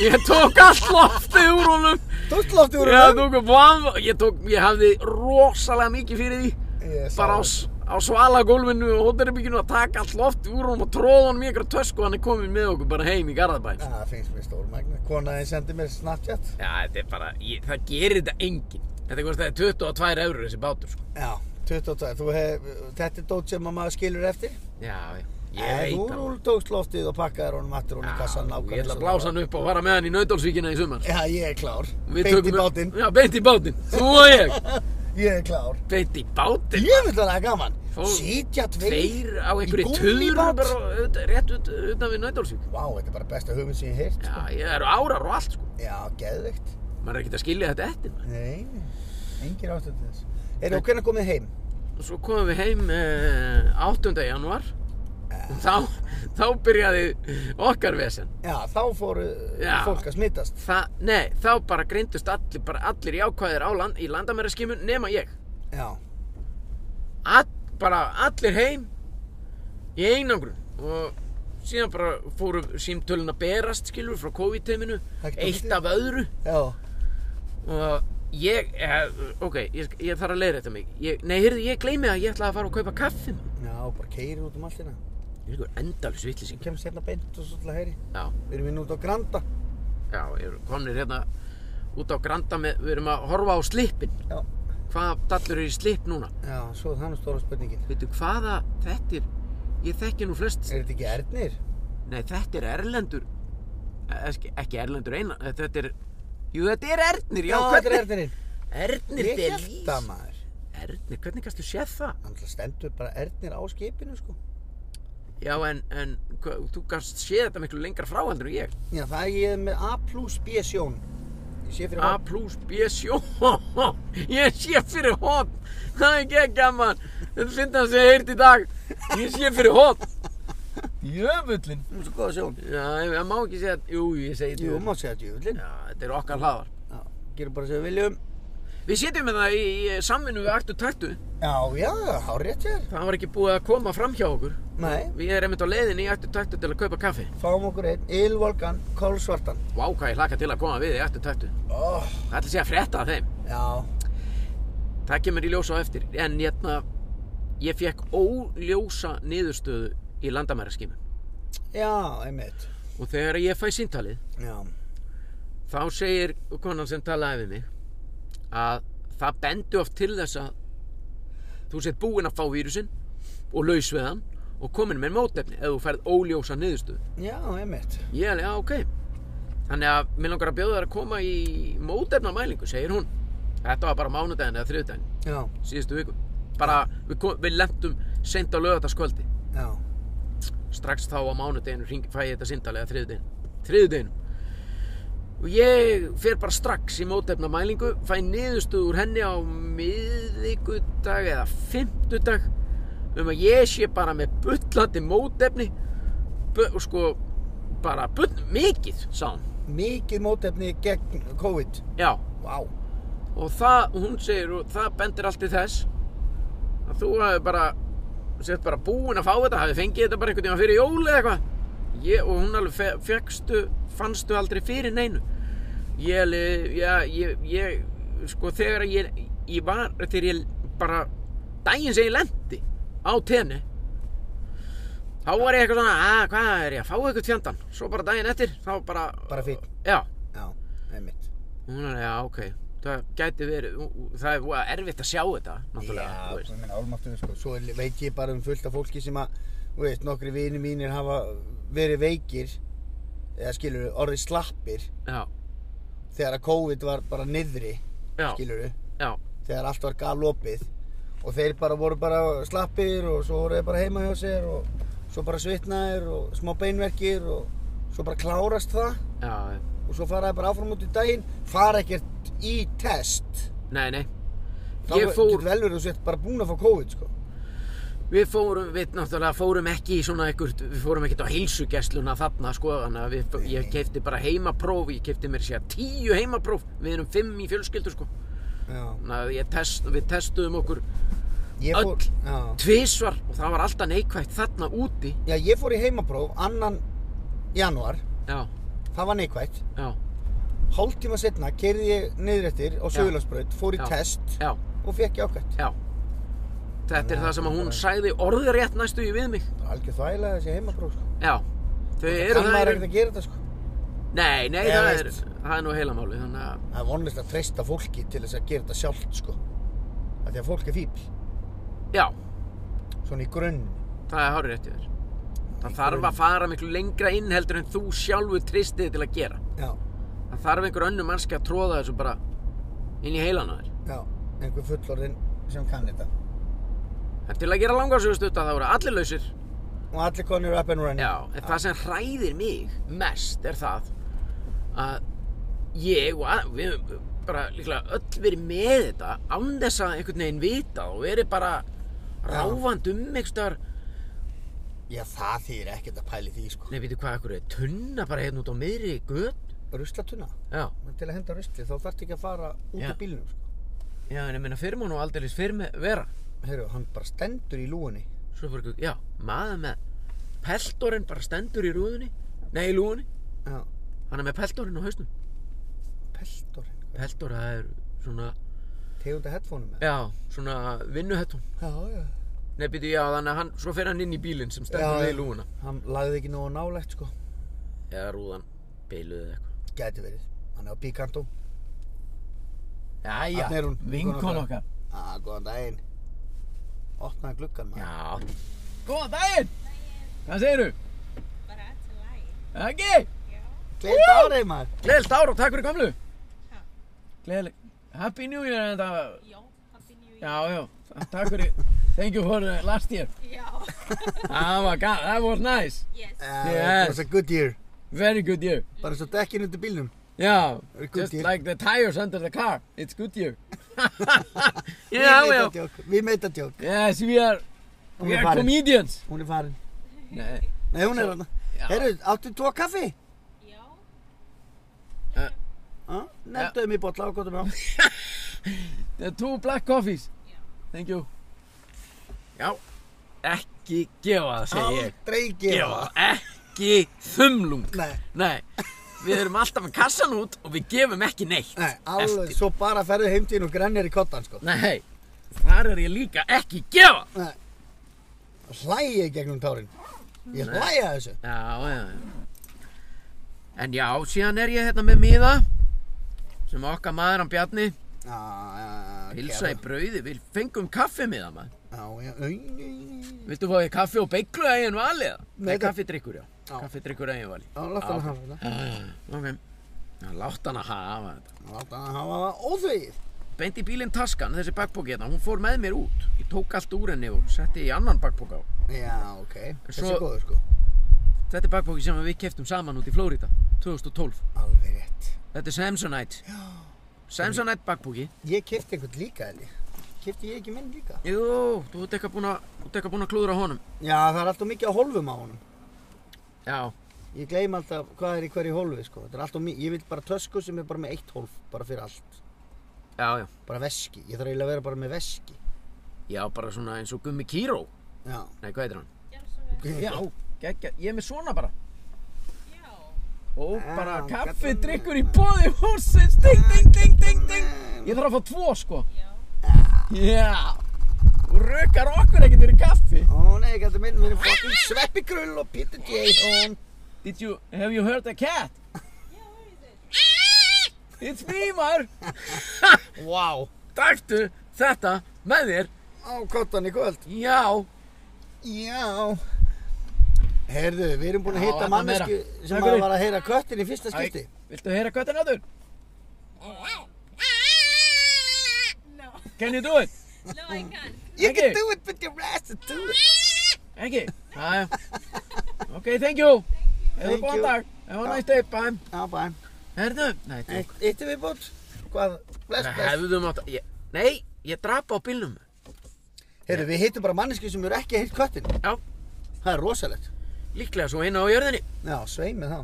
A: Ég tók allt loftið úr honum.
B: Tókst loft úr
A: Já,
B: honum?
A: tók, vaf, ég, tók, ég hafði rosalega mikið fyrir því
B: Ég sá
A: bara á,
B: það.
A: s- á svalagólfinu og hóttarbygginu að taka allt loft úr honum og tróða honum í einhverja tösku og hann er komin með okkur bara heim í Garðabæn
B: Já, það finnst mér stórmægna Konaðin sendi mér Snapchat
A: Já, þetta er bara, ég, það gerir þetta enginn Þetta kostiði 22 eurur þessi bátur sko.
B: Já, 22 Þú hef, Þetta er dót sem að maður skilur eftir
A: Já, ég, ég
B: En
A: veit
B: þú
A: það.
B: rúl tókst loftið og pakkaðir honum aftur honum í kassan
A: Já,
B: nákvæmlega
A: Ég ætla
B: svo
A: að
B: það
A: blása
B: var.
A: hann upp og fara með hann í Nautalsvíkina í sumar
B: Já, ég er klár.
A: Við
B: Beint í
A: tökum-
B: bátinn.
A: Já, beint í bátinn, þú og ég
B: Ég er klár.
A: Beint í bátinn
B: Ég vil það gaman.
A: Fó-
B: Sitja tveir.
A: Tveir á
B: í
A: einhverju tuður
B: gúmmíbát.
A: bara ut- rétt ut- utan við Nautalsvík
B: Vá, þetta er bara besta hugmynd sem ég heilt.
A: Já, ég eru árar og allt sko
B: Já, geðveikt.
A: maður er ekkert að skilja þetta eftir maður.
B: Nei, engin ástönd til þess. Eru okkur að komið heim?
A: og svo komum við heim eh, 8. januar og þá, þá byrjaði okkar vesen
B: Já, þá fóru
A: Já.
B: fólk að smittast.
A: Þa, nei, þá bara greindust allir, bara allir jákvæðir á land, í landamæraskimun nema ég
B: Já,
A: All, bara allir heim í einangrun og síðan bara fóru símtölin að berast skilur frá COVID-teiminu
B: Ekkert á
A: eitt
B: milli.
A: af öðru
B: já,
A: og ég, eh, ok, ég, sk- ég þarf að leiða þetta mig ég, nei, heyrðu, ég gleymi að ég ætlaði að fara og kaupa kaffi maður.
B: já, bara keirir út um allt hérna.
A: Ég er endalus vitlýsing
B: Kemst hérna beint og svo til að heyri.
A: Já,
B: Við erum inn út á Granda.
A: já, ég er konir hérna út á Granda með, við erum að horfa á slipin
B: Já,
A: Hvaða dallur er í slip núna?
B: já, svo er þannig stóra spurningin.
A: Veitu, hvaða, þetta er, ég þekki nú flest
B: Er þetta ekki Ernir?
A: Nei, þetta er Erlendur Eh, Ekki, ekki Erlendur eina, eh, þetta er Jú, þetta er Ernir, já,
B: þetta er Ernirinn.
A: Ernir
B: Ég
A: Delís.
B: held það maður.
A: Ernir, hvernig kannstu séð það?
B: Hann ætla stendur bara Ernir á skipinu sko.
A: Já, en, en hva, þú kannst séð þetta miklu lengra frá heldur en ég
B: Já, það er ég með A plus B sjón. Ég sé fyrir
A: A
B: hann.
A: plus B sjó *laughs* Ég sé fyrir hot Það er ekki gaman Þetta finnst hann sem ég heyrt í dag Ég sé fyrir hot Jöfullin
B: Þú er svo góða sjón.
A: Já, ég ég má ekki segja Jú, ég segi
B: um. Jú,
A: djöfullinn.
B: má segja djöfullin.
A: Já, þetta eru okkar hlaðar
B: Já, gerum bara sem við viljum.
A: Við sitjum með það í, í samvinnu við Aktu Taktu
B: Já, já, hárétt hér.
A: Það var ekki búið að koma fram hjá okkur
B: Nei,
A: Við erum einmitt á leiðinni í Aktu Taktu til að kaupa kaffi
B: fáum okkur einn ylvolgan kólsvartan.
A: Vá, hvað ég hlaka til að koma við í Aktu Taktu
B: Oh.
A: Það ætla sé að frétta af þeim
B: Já,
A: Það kemur í ljósa á eftir En hérna, ég fekk óljósa niðurstöðu í landamæraskimum
B: já, einmitt.
A: Og þegar ég fæ síntalið
B: Já,
A: þá segir konan sem talaði við mig að það bendu oft til þess að þú sett búinn að fá vírusin og laus við hann og komin með mótefni ef þú færð óljósa niðurstöðu.
B: já, einmitt.
A: Ég alveg, já, ok. Þannig að mér langar að bjóða þær að koma í mótefnamælingu, segir hún. Þetta var bara mánudaginn eða þriðudaginn,
B: Já,
A: síðustu viku. Bara, við, kom, við lentum seint á lögataskvöldi.
B: já,
A: Strax þá á mánudaginn hring, fæ ég þetta sindalega þriðudaginn. Þriðudaginn. Og ég fer bara strax í mótefna mælingu, fæ niðurstuð úr henni á miðvikudag eða fimmtudag um að ég sé bara með bullandi mótefni bu- og sko bara bull, mikið sá hún
B: Mikið mótefni gegn COVID.
A: já
B: Vá.
A: og það, hún segir, og það bendir allt til þess að þú hafi bara sett bara búin að fá þetta hafi fengið þetta bara einhvern tíma fyrir jól eða eitthvað ég, og hún alveg fe- fékkstu fannstu aldrei fyrir neinu ég, alveg- já, ég, ég sko þegar ég, ég var þegar ég bara daginn sem ég lendi á tenni þá var ég eitthvað svona að hvað er ég að fá eitthvað tjandan svo bara daginn eftir þá bara
B: Bara fínn.
A: já
B: Já, einmitt.
A: Hún er, já, ok, það gæti verið, það er voða erfitt að sjá þetta, náttúrulega,
B: Já,
A: þú
B: ég
A: veist.
B: meina álmáttur, sko. Svo er- veit ég bara um fullt af fólki sem að, þú veist, nokkri vini mínir hafa verið veikir, eða skilur, orðið slappir,
A: Já,
B: þegar að COVID var bara niðri,
A: já,
B: skilur,
A: já,
B: þegar allt var galopið og þeir bara voru bara slappir og svo voru þeir bara heima hjá sér og svo bara svitnaðir og smá beinverkir og svo bara klárast það
A: já,
B: og svo fara þeir bara áfram út í daginn, fara ekkert í test.
A: nei, nei.
B: Þá
A: Ég fór-
B: getur vel verið að þú sett bara búin að fá COVID, sko.
A: Við fórum, við náttúrulega fórum ekki í svona ekkert, við fórum ekkert á heilsugessluna þarna, sko, þannig að við, ég keipti bara heimapróf, ég keipti mér sér tíu heimapróf, við erum fimm í fjölskyldu, sko.
B: Já.
A: Þannig að ég test, við testuðum okkur
B: Ég fór,
A: Öll.
B: já.
A: tvisvar og það var alltaf neikvætt þarna úti.
B: já, ég fór í heimapróf annan januar,
A: Já,
B: það var neikvætt.
A: já,
B: Hálftíma setna keirði ég niður eftir á
A: Já.
B: Suðurlandsbraut, fór í
A: Já.
B: test
A: já,
B: og fekk ég ákvæmt.
A: já. Þetta er það sem að hún sagði orðið rétt næstu í við mig.
B: Það var algjör þvægilega þessi heimapróf, sko.
A: Já, þau eru
B: Kann
A: það
B: maður
A: eru-
B: ekkert að gera þetta, sko.
A: Nei, nei,
B: Eða
A: það er,
B: veist.
A: það er nú heilamáli Þannig að,
B: Það er vonlist að treysta fólki til þess að gera þetta sjálft, sko. Af því að fólk er fíbl,
A: já,
B: svona í grunn.
A: það er hárið rétt yfir Það þarf að fara miklu lengra inn heldur en þú sjálfur tristið til að gera
B: Já,
A: Það þarf einhver önnur mannski að tróða þessu bara inn í heilana þér
B: já, einhver fullorðinn sem kann þetta.
A: En til að gera langarsugustutta þá eru allir lausir
B: Mm. Og allir konir up and running.
A: Já, en það sem hræðir mig mest er það að ég og að, við höfum bara líklega öll verið með þetta án þess að einhvern veginn vita og verið bara ráfand um einhverstaðar
B: Já, það þýðir ekkert að pæli því, sko.
A: Nei, veitu hvað, ekkur er tunna bara hérna út á miðri gött?
B: Ruslatuna,
A: Já.
B: til að henda rusli, þá þarfst ekki að fara út
A: Já.
B: í bílnum, sko.
A: Já, en ég meina fyrir má nú aldrei fyrir með vera.
B: Heyrðu, hann bara stendur í lúinni.
A: Svo fyrir ekki, já, maður með peltorinn bara stendur í rúðunni, nei, í lúðunni.
B: Já,
A: Hann er með peltorinn á hausnum.
B: peltorinn.
A: Peltor, það er svona,
B: Tegunda headphone-um með.
A: já, svona vinnuhettum.
B: Já, já.
A: Nei, býtu, já, þannig að hann, svo fyrir hann inn í bílinn sem
B: Já,
A: stendur við
B: já.
A: í lúðuna.
B: Hann lagði ekki nógu nálægt, sko.
A: Eða rúðan, beiluðið eitthvað.
B: Gæti verið. Hann er á Picantum.
A: Jæja,
B: Þarna er hún, vinkona
A: vinkona
B: okkar. Á, góðan daginn. Opnaði gluggan, maður.
A: Já. Góðan daginn! Hvað segiru?
C: Bara allt í lagi.
A: Ekki!
C: Já.
B: Gleimt árið, maður.
A: Gleðilegt ár og takk fyrir gamlu.
C: Ha.
A: Gleðilegt. Happy New Year en þetta.
C: Já, happy new year.
A: Já, já. Takk fyrir. Thank you for uh, last year.
C: *laughs* Já.
A: Ah my god, that was nice.
C: yes.
B: Uh,
A: Yes.
B: It was a good year.
A: Very good year.
B: Bara svo dekkin undir bílnum.
A: Já,
B: Very good
A: just
B: year.
A: like the tires under the car. It's good
B: *laughs*
A: year.
B: Við
A: já,
B: made a
A: já.
B: joke. We made a joke.
A: Yes, we are,
B: Hún
A: we
B: er
A: are
B: farin.
A: comedians.
B: Hún er farin.
A: Nei,
B: Nei, hún er hann.
A: já.
B: Herru, áttu tvo kaffi?
C: Já.
B: Uh, Nefnduðum í bolla og gotum á.
A: The two black coffees.
C: Já.
A: Thank you. Já, ekki gefa það, segi ég.
B: Aldrei gefa.
A: Ekki þumlung.
B: Nei,
A: Nei, við erum alltaf með kassan út og við gefum ekki neitt.
B: nei, alveg,
A: eftir.
B: svo bara ferðu heimtíðin og grennir í kottan, sko.
A: Nei, þar er ég líka ekki gefa.
B: Nei. Hlæja gegnum tárin. Ég hlæja þessu.
A: Já, já, já. En já, síðan er ég hérna með miða sem okkar maður hann Bjarni
B: Já, já, já.
A: hilsa í
B: kæra.
A: brauði, við fengum kaffi miða maður.
B: Já, já, au, au, au.
A: Viltu fá því kaffi og beiglu að eigin valið? Nei,
B: Nei,
A: Nei
B: takk.
A: kaffidrykkur, já.
B: Já.
A: Kaffidrykkur að eigin valið.
B: Já, látt hann að hafa þetta.
A: Já, já, já, ok. Já, Látt hann að hafa þetta.
B: Látt hann að hafa það óþvegið.
A: Beint í bílinn taskan, þessi bakpóki hérna, hún fór með mér út. Ég tók allt úr henni og setti í annan bakpóka á.
B: Já, ok. Þessi
A: Svo-
B: er góður, sko.
A: Þetta er bakpóki sem við keftum saman út í Flórida 2012.
B: Alveg rétt.
A: Þetta er Samsonite. Samsonite bakpóki.
B: Ég kefti einhvern líka, Eli. Kefti ég ekki minn líka?
A: Jú, þú ert eitthvað búin að, þú ert eitthvað búin að klúðra honum.
B: Já, það er alltaf mikið á hólfum á honum.
A: Já,
B: Ég gleym alltaf hvað er í hverju hólfi sko. Þetta er alltaf mikið, ég vil bara tösku sem er bara með eitt hólf, bara fyrir allt.
A: Já, já.
B: Bara veski, ég þarf eiginlega að vera bara með veski.
A: Já, bara svona eins og Gummi Kíró.
B: Já.
A: Nei, hvað heitir hann?
C: Gjörðu svo vel.
A: Já, geggja. Ég er með svona bara.
C: Já.
A: Ó,
B: Já,
A: bara kaffi,
B: kallar-
A: drikkur í bóði húsins. Ding, ding, ding, ding, ding. Ég þarf að fá tvo, sko.
C: Já.
A: Já. Þú rökar okkur ekkert fyrir kaffi.
B: Ó nei, gæti minn, við erum fucking Sveppi Grull og Peter Jason.
A: Did you, have you heard a cat?
C: Yeah, where is it?
A: It's me, maður.
B: Vá.
A: Dæftu þetta með þér.
B: Á kottan í kvöld.
A: Já.
B: Já. Heyrðu, við erum búin að
A: Já,
B: hitta
A: þetta
B: mannesku
A: meira.
B: sem
A: Takk
B: að
A: fyrir.
B: var að heyra köttin í fyrsta skipti.
A: Æ, Viltu heyra köttin áður?
C: No. *laughs*
A: Can you do it?
C: No, I can't.
B: You
A: Ekki.
B: can do it, but your ass is do it.
A: Ekki? Jæja. Ok, thank you. Hefðu
B: Thank
A: góðan
B: you.
A: dag. Have a nice day, bye.
B: Já, bæm.
A: Herðu, nei, þú.
B: Eitt, eitt er við búin. Hvað? Bless,
A: Við
B: bless.
A: hefðum átt að... Ég, nei, ég drapa á bílnum.
B: Heyrðu, við hittum bara mannesku sem eru ekki að hitta köttin.
A: Já,
B: Það er rosalegt.
A: líklega svo eina á jörðinni.
B: Já, svei með þá.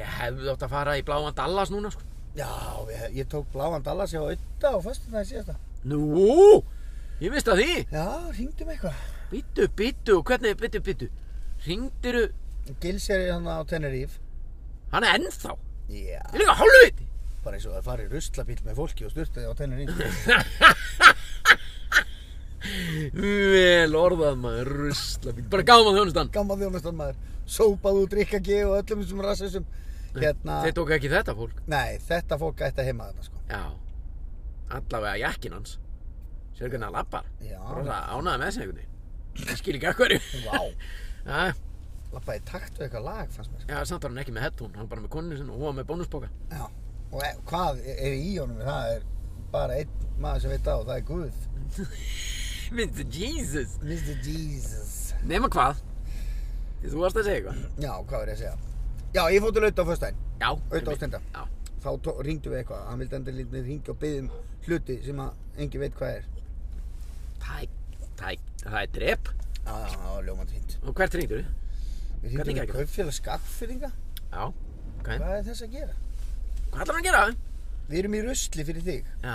A: Ég hefði átt að fara í bláan Dallas núna, sko.
B: Já, ég, ég tók bláan Dallas hjá Ötta og föstum það í síðasta.
A: Nú, ég vissi að því.
B: Já, hringdum eitthvað.
A: Bittu, bittu, og hvernig, bittu, bittu. Ringdiru,
B: Gils er hann á Tenerife.
A: hann er ennþá.
B: Já,
A: Ég er líka hálfviti.
B: bara eins og að fara í ruslabíl með fólki og styrtaði á
A: *laughs*
B: Tenerife.
A: Vel orðað maður, rusla bíl. Bara gaman þjónustan.
B: Gammal þjónastan maður, sópað úr drikkagi og öllum þessum rassisum. Hérna,
A: Þeir tók ekki þetta fólk.
B: nei, þetta fólk ætti að heima þarna sko.
A: Já, allavega jakkin hans. Sér hvernig hann lappar.
B: Já.
A: Rosa ánaði með sig einhvern veginn. Ég skil ekki að hverju.
B: Vá.
A: Já,
B: Lappaði í takt við eitthvað lag, fannst mér. sko.
A: Já, samt var hann ekki með headphone, hann var bara með konu sinni og hún var með bónusboka.
B: Já, og e hvað er í honum? Það er bara einn maður sem veit á, það er Guð.
A: Mynd, Jesus!
B: Mr. Jesus.
A: Nefna hvað? Þú varst að segja eitthvað?
B: Já, hvað er ég að segja? Já, ég fór til auðvitað á föstæn.
A: Já.
B: Auðvitað á
A: einmitt.
B: stenda.
A: Já.
B: þá tó- ringdu við eitthvað, hann vildi endur lítið ringi og byggði um hluti sem að engi veit hvað er.
A: Það er, það er, það er drep.
B: Já, já, það var ljómandi fínt.
A: Og hvert ringdur þið?
B: Við
A: Hvernig
B: ringdum við
A: gekk?
B: kaupfélag skaffyrringa,
A: Já. Ok.
B: hvað er þess að gera?
A: Hvað ætlar hann að gera?
B: Við erum í rusli fyrir þig,
A: Já,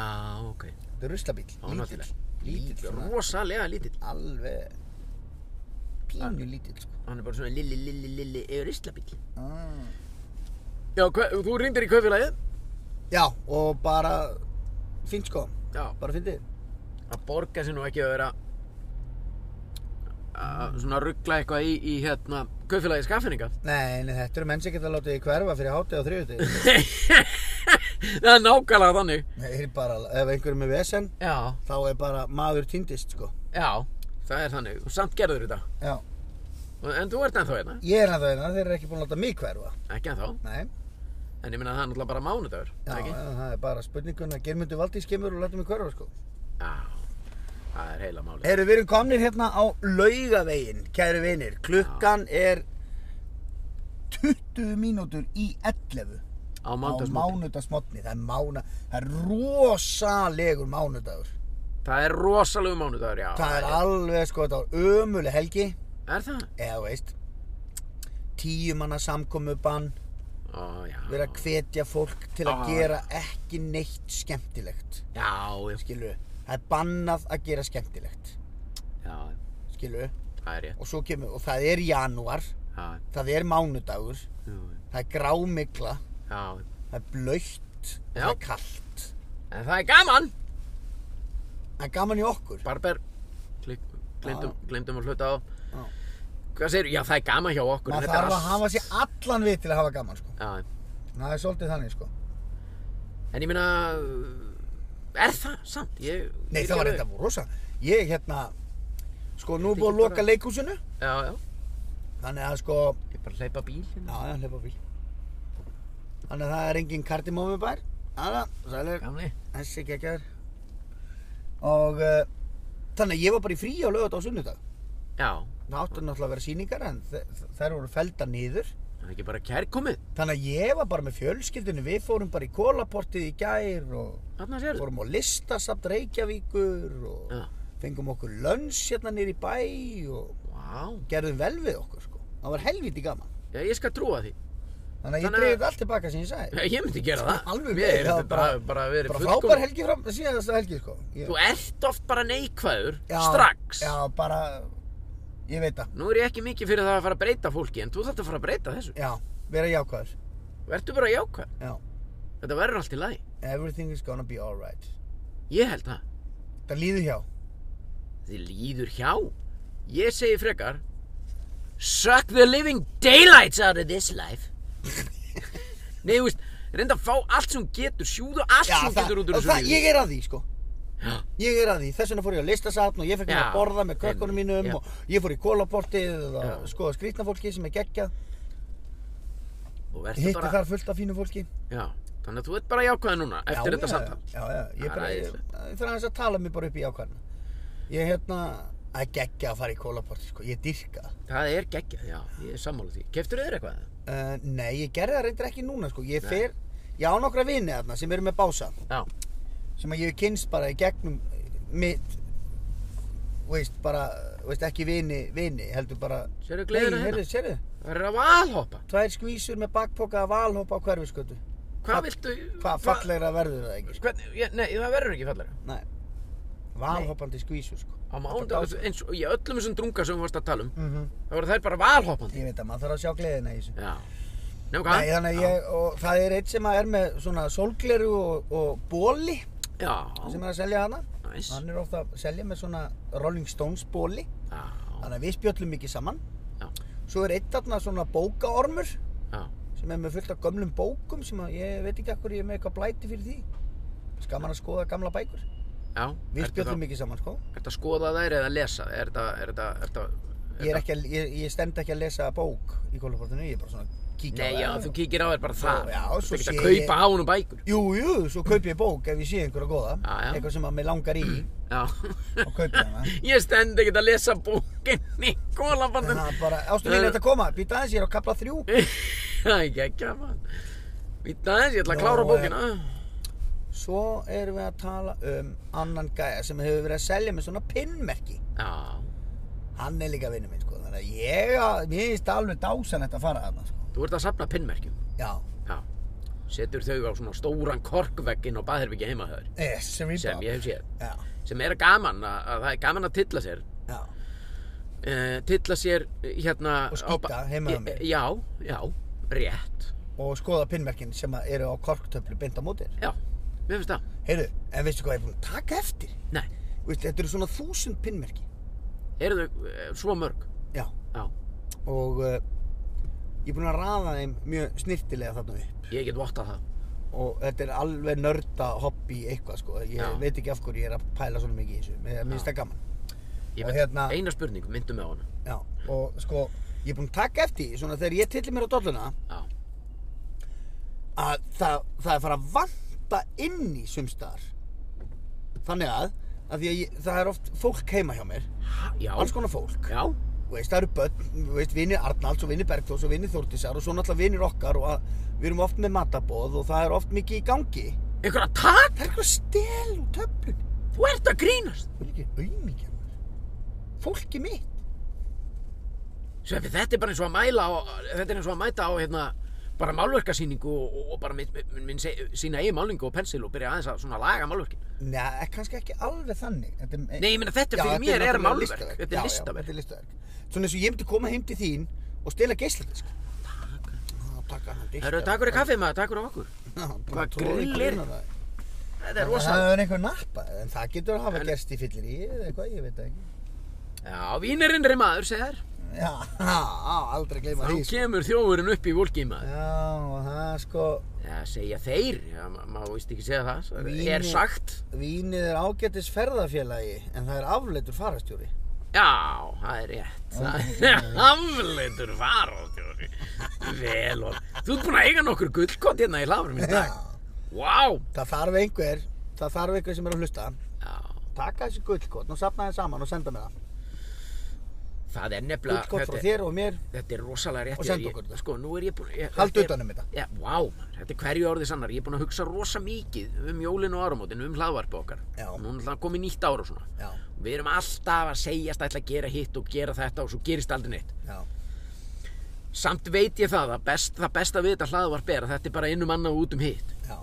A: ok.
B: þetta er ruslabíl,
A: Já, náttúrulega.
B: lítill, svona,
A: Rosalega lítill.
B: alveg pínu lítill sko.
A: Hann er bara svona lilli, lilli, lilli, yfir islabíll.
B: Ah.
A: Já, hva, þú ringdur í kaufélagið?
B: Já, og bara fínt sko,
A: Já.
B: bara fyndið.
A: Að borga sér nú ekki að vera að svona ruggla eitthvað í, í hérna kaufélagið skaffinninga.
B: Nei, nei, þetta eru menn sem geta látið þig hverfa fyrir hátið á þriðutið.
A: *laughs* það er nákvæmlega þannig.
B: *laughs* Nei, er bara, ef einhverjum er með vesen,
A: Já,
B: þá er bara maður týndist sko.
A: já, það er þannig og samt gerður þetta
B: Já.
A: Og- en þú ert ennþá hérna,
B: Ég er hann það þeir eru ekki búin að láta mig hverfa.
A: ekki ennþá
B: Nei.
A: en ég minna að það er náttúrulega bara mánudagur
B: Já,
A: ekki?
B: já, það er bara spurningun að Germundur Valdís kemur og lætur mig hverfa sko.
A: já, það er heila máli
B: Eru við erum komnir hérna á laugavegin, kæru vinir. Klukkan er 20 mínútur í 11
A: á
B: á
A: mánudagsmóti,
B: mánudagsmotni. Það er mána, það er rosalegur mánudagur.
A: það er rosalegu mánudagur já,
B: það er alveg sko, þetta var ömuleg helgi,
A: er það?
B: eða þú veist, tíu manna samkomubann,
A: Ó, já,
B: vera að hvetja fólk til að
A: Já.
B: gera ekki neitt skemmtilegt.
A: já, já,
B: Skilu, það er bannað að gera skemmtilegt.
A: já,
B: Skilu,
A: það er rétt
B: og svo kemur, og það er janúar,
A: já,
B: það er mánudagur,
A: já,
B: það er grámikla,
A: já,
B: það er blöytt,
A: Já.
B: það er kallt.
A: en það er gaman
B: Það er gaman í okkur.
A: Barber, klik- gleymdum, gleymdum um að hluta á
B: Já.
A: hvað segir, já það er gaman hjá okkur en
B: Maður
A: þetta er
B: þarf að
A: allt-
B: hafa sér allan við til að hafa gaman, sko.
A: já,
B: Það er svolítið þannig, sko.
A: en ég minna er það samt? Ég,
B: Nei,
A: ég
B: það var
A: gerði-
B: reynda rosa. Ég, hérna, sko, nú er búið að
A: þykir
B: loka
A: bara-
B: leikhúsinu,
A: já, já
B: þannig að, sko,
A: Ég bara hleypa bíl
B: já,
A: hérna.
B: já, hleypa bíl. Þannig að það er engin kardimómi bær. Aða, sælir,
A: Gamli.
B: þessi geggjar. Og, uh, þannig að ég var bara í frí á lögat á sunnudag.
A: Já.
B: Það áttu náttúrulega að vera sýningar en þe- þ- þær voru feldar niður.
A: Það er ekki bara kærkomið.
B: Þannig að ég var bara með fjölskyldinu, við fórum bara í kólaportið í gær og
A: Þarna sér það.
B: fórum á listasamt Reykjavíkur og
A: Já.
B: fengum okkur lönns hérna niður í bæ og
A: Vá.
B: gerðum vel við okkur sko. Það var helviti gaman.
A: Já, ég skal trúa því.
B: Þannig að ég
A: Þannig að-
B: dreif þetta allt tilbaka sem ég sagði.
A: Ég myndi gera það.
B: Alveg
A: Mér
B: vel,
A: er þetta
B: það var
A: bara,
B: bara-
A: bara verið
B: Bara
A: fullkomið.
B: frábær helgi fram, síðasta helgi sko. Ég,
A: Þú ert oft bara neikvæður,
B: Já,
A: strax.
B: Já, bara, ég veit það.
A: Nú er ég ekki mikið fyrir það að fara að breyta fólki, en þú þarft að fara að breyta þessu.
B: Já, vera jákvæður.
A: Vertu bara jákvæð.
B: Já,
A: Þetta verður allt í lagi.
B: everything is gonna be alright.
A: Ég held það.
B: Það líður hjá.
A: Þið líður hjá. Ég segi frekar, suck the living daylights out of this life. *laughs* Nei, þú veist, reynda að fá allt sem þú getur, sjúðu allt sem þú getur út úr þessu
B: það, ég er að því sko.
A: Já.
B: Ég er að því, þess vegna fór ég á listasatn og ég fekk mér
A: Já.
B: að borða með krökkunum mínum
A: Já.
B: og ég fór í kólaportið og
A: Já.
B: skoða skrýtnafólki sem er geggjað,
A: Og verður
B: hitti
A: bara...
B: þar fullt af fínu fólki.
A: Já, þannig að þú ert bara jákvæð núna eftir
B: Já,
A: þetta
B: já,
A: samtal.
B: Já, já, ég
A: Það er
B: bara, ég, ég
A: æðislegt.
B: þarf aðeins að tala mig bara upp í ákvæðina. Ég hérna, að geggja að fara í kólaporti, sko, ég dyrka það.
A: Það er geggjað, já, ég er sammála því. Keftur þér eitthvað?
B: Uh, nei, ég gerði það reyndir ekki núna, sko, ég
A: Nei.
B: fer, ég á nokkra vini þarna sem eru með bása,
A: Já,
B: sem að ég hef kynst bara í gegnum eh, mitt, veist, bara, veist, ekki vini, vini, heldur bara,
A: sérðu gleðina
B: Nei,
A: hérna?
B: heyrðu, sérðu,
A: Það er að valhoppa.
B: tvær skvísur með bakpoka af alhópa á hverfiskötu.
A: Hvað
B: Fall-
A: viltu...
B: Hvað fallegra verður það ekki, sko?
A: Hvern, ég, nei, það verður ekki fallegra.
B: Nei, valhoppandi skvísur, sko.
A: Á mándag, eins og í öllum þessum drunga sem við varst að tala um,
B: Mm
A: þá voru þær bara valhoppandi.
B: Ég veit að maður þarf að sjá gleðina í þessu.
A: Já. Nefnum hvað?
B: Nei, þannig að ég, og það er eitt sem að er með svona sólgleru og, og bóli
A: Já,
B: sem er að selja hana.
A: næs.
B: Hann er ofta að selja með svona Rolling Stones bóli,
A: Já,
B: þannig að við spjöllum mikið saman.
A: Já.
B: Svo er eitt þarna svona bókaormur
A: já.
B: sem er með fullt af gömlum bókum sem að ég veit ekki akkur ég er með eitthvað blæti fyrir því. Skaman að skoða gamla bækur.
A: Já,
B: Við
A: ertu
B: spjöllum
A: þá-
B: mikið saman, sko.
A: ertu að skoða þær eða lesa? Er þetta, er þetta, er þetta...
B: Ég, er ekki að, ég, ég stend ekki að lesa bók í kólaportinu, ég er bara svona að kíkja
A: Nei, já, þú
B: kíkja.
A: kíkir á þær bara það.
B: Já,
A: Þú
B: svo
A: ert ekki
B: sé
A: að
B: ég-
A: kaupa á húnum bækur.
B: Jú, jú, svo kaup ég bók ef ég sé einhverja góða,
A: Já, já.
B: eitthvað sem að mig langar í
A: *clears throat*
B: *laughs*
A: Já.
B: og kaup ég hana.
A: Ég stend ekkert að lesa bókinni
B: En
A: Kólabandum
B: það er bara, ástu mín, þetta koma, býta aðeins, ég er á kapla þrjú.
A: *laughs* Það er ekki ekki að maður Vita aðeins, ég ætla að
B: Nó,
A: klára
B: eh,
A: bókina
B: Svo erum við að tala um annan gæja sem hefur verið að selja með svona pinnmerki.
A: Já,
B: Hann er líka vinnu minn, sko, þannig að ég, að- mér finnst alveg dásanlegt að fara þarna, sko.
A: þú ert að safna pinnmerkjum
B: Já,
A: Já, setur þau á svona stóran korkvegginn á baðherbyggi heima hjá þér
B: yes, Eh, sem við
A: sem ég hef séð
B: Já,
A: sem er gaman, að, að það er gaman að tilla sér
B: já,
A: uh, tilla sér eh, hérna
B: Og
A: á ba-
B: skíta heima hjá
A: Eh,
B: mér.
A: Já, já, rétt
B: og skoða pinnmerkin sem að eru á korktöflu beint á mótir.
A: Já, mér finnst það
B: Heyrðu, en veistu hvað ég er búin að taka eftir?
A: Nei,
B: Veistu, þetta eru svona þúsund pinnmerki.
A: eru þau eh, svo mörg
B: Já,
A: Já,
B: og uh, ég er búin að raða þeim mjög snirtilega þarna upp.
A: ég get vottað það
B: og þetta er alveg nörda hobby eitthvað sko, ég
A: Já.
B: veit ekki af hverju ég er að pæla svona mikið í þessu, mér mér finnst það gaman
A: Ég
B: Og
A: veit,
B: hérna-
A: eina spurning, myndum með honum
B: já, og sko, ég er búinn að taka eftir því, svona þegar ég tilli mér á dolluna
A: Já,
B: að það, það er fara að vanta inn í sumstar þannig að, að því að ég, það er oft fólk heima hjá mér,
A: Ha- já
B: alls konar fólk
A: Já,
B: Þú veist, það eru börn, þú veist, vinir Arnalds og vinir Bergþós og vinir Þórtísar og svo náttúrulega vinir okkar og að, við erum oft með matabóð og það er oft mikið í gangi
A: einhverja tak,
B: það er eitthvað stel úr töflunni
A: þú ert að grínast
B: Þú er ekki auðmíkja maður. Fólki mitt.
A: Sveppi, þetta er bara eins og að mæla á, þetta er eins og að mæta á hérna bara málverkasýningu og, og, og bara minn, minn, minn se, sína eigin málningu og pensil og byrja aðeins að svona laga málverkin
B: Nei, eh, kannski ekki alveg þannig. Þetta er,
A: Nei, ég meina þetta fyrir mér er
B: náttúrulega
A: málverk. Þetta er
B: Já, já,
A: listaverk.
B: Þetta er listaverk. Svona eins og ég myndi koma heim til þín og stela geisladisk. Takk. Takk hann disk.
A: Herru, takk fyrir kaffið maður, takk fyrir okkur Hvað grillir? Þetta er rosa
B: Það er einhver nappa, en það getur að hafa
A: En-
B: gerst í fyllir í eða eitthvað, ég veit það ekki.
A: Já, vínirinri maður, segir
B: Já, *laughs* á, aldrei gleyma
A: Þá
B: því. sko.
A: kemur þjófurinn upp í volki maður
B: Já, og það sko,
A: Já, segja þeir, já, ma- maður víst ekki segja það svo
B: Vínir-
A: Er sagt
B: vínið er ágætis ferðafélagi, en það er afleitur farastjóri.
A: Já, það er rétt. Það er *laughs* afleitur faraldjóri. Vel og... Þú ert búinn að eiga nokkur gullkott hérna í hlaðurum í dag. Vá!
B: Það þarf einhver, það þarf einhver sem er að hlusta
A: Já,
B: Taka þessi gullkort og sapna þeim saman og senda mér það
A: það er nefnilega...
B: Gullkort frá
A: þetta-
B: þér og mér
A: Þetta er rosalega rétt.
B: Og senda
A: Ég-
B: okkur þetta.
A: Sko, nú er ég búinn... ég-
B: Haldu
A: þetta er-
B: utan um þetta.
A: Já, vá, maður. Þetta er hverju orðið sannar. Ég er búinn að hugsa rosa mikið um jólin og áramótin, um hlaðvarpi okkar.
B: Já.
A: Nú er það komið nýtt ára og svona.
B: Já,
A: Við erum alltaf að segjast ætla að gera hitt og gera þetta og svo gerist aldrei neitt.
B: já
A: samt veit ég það að best, það besta við þetta hlaðvarp er að þetta er bara innum annað og út um hitt
B: Já,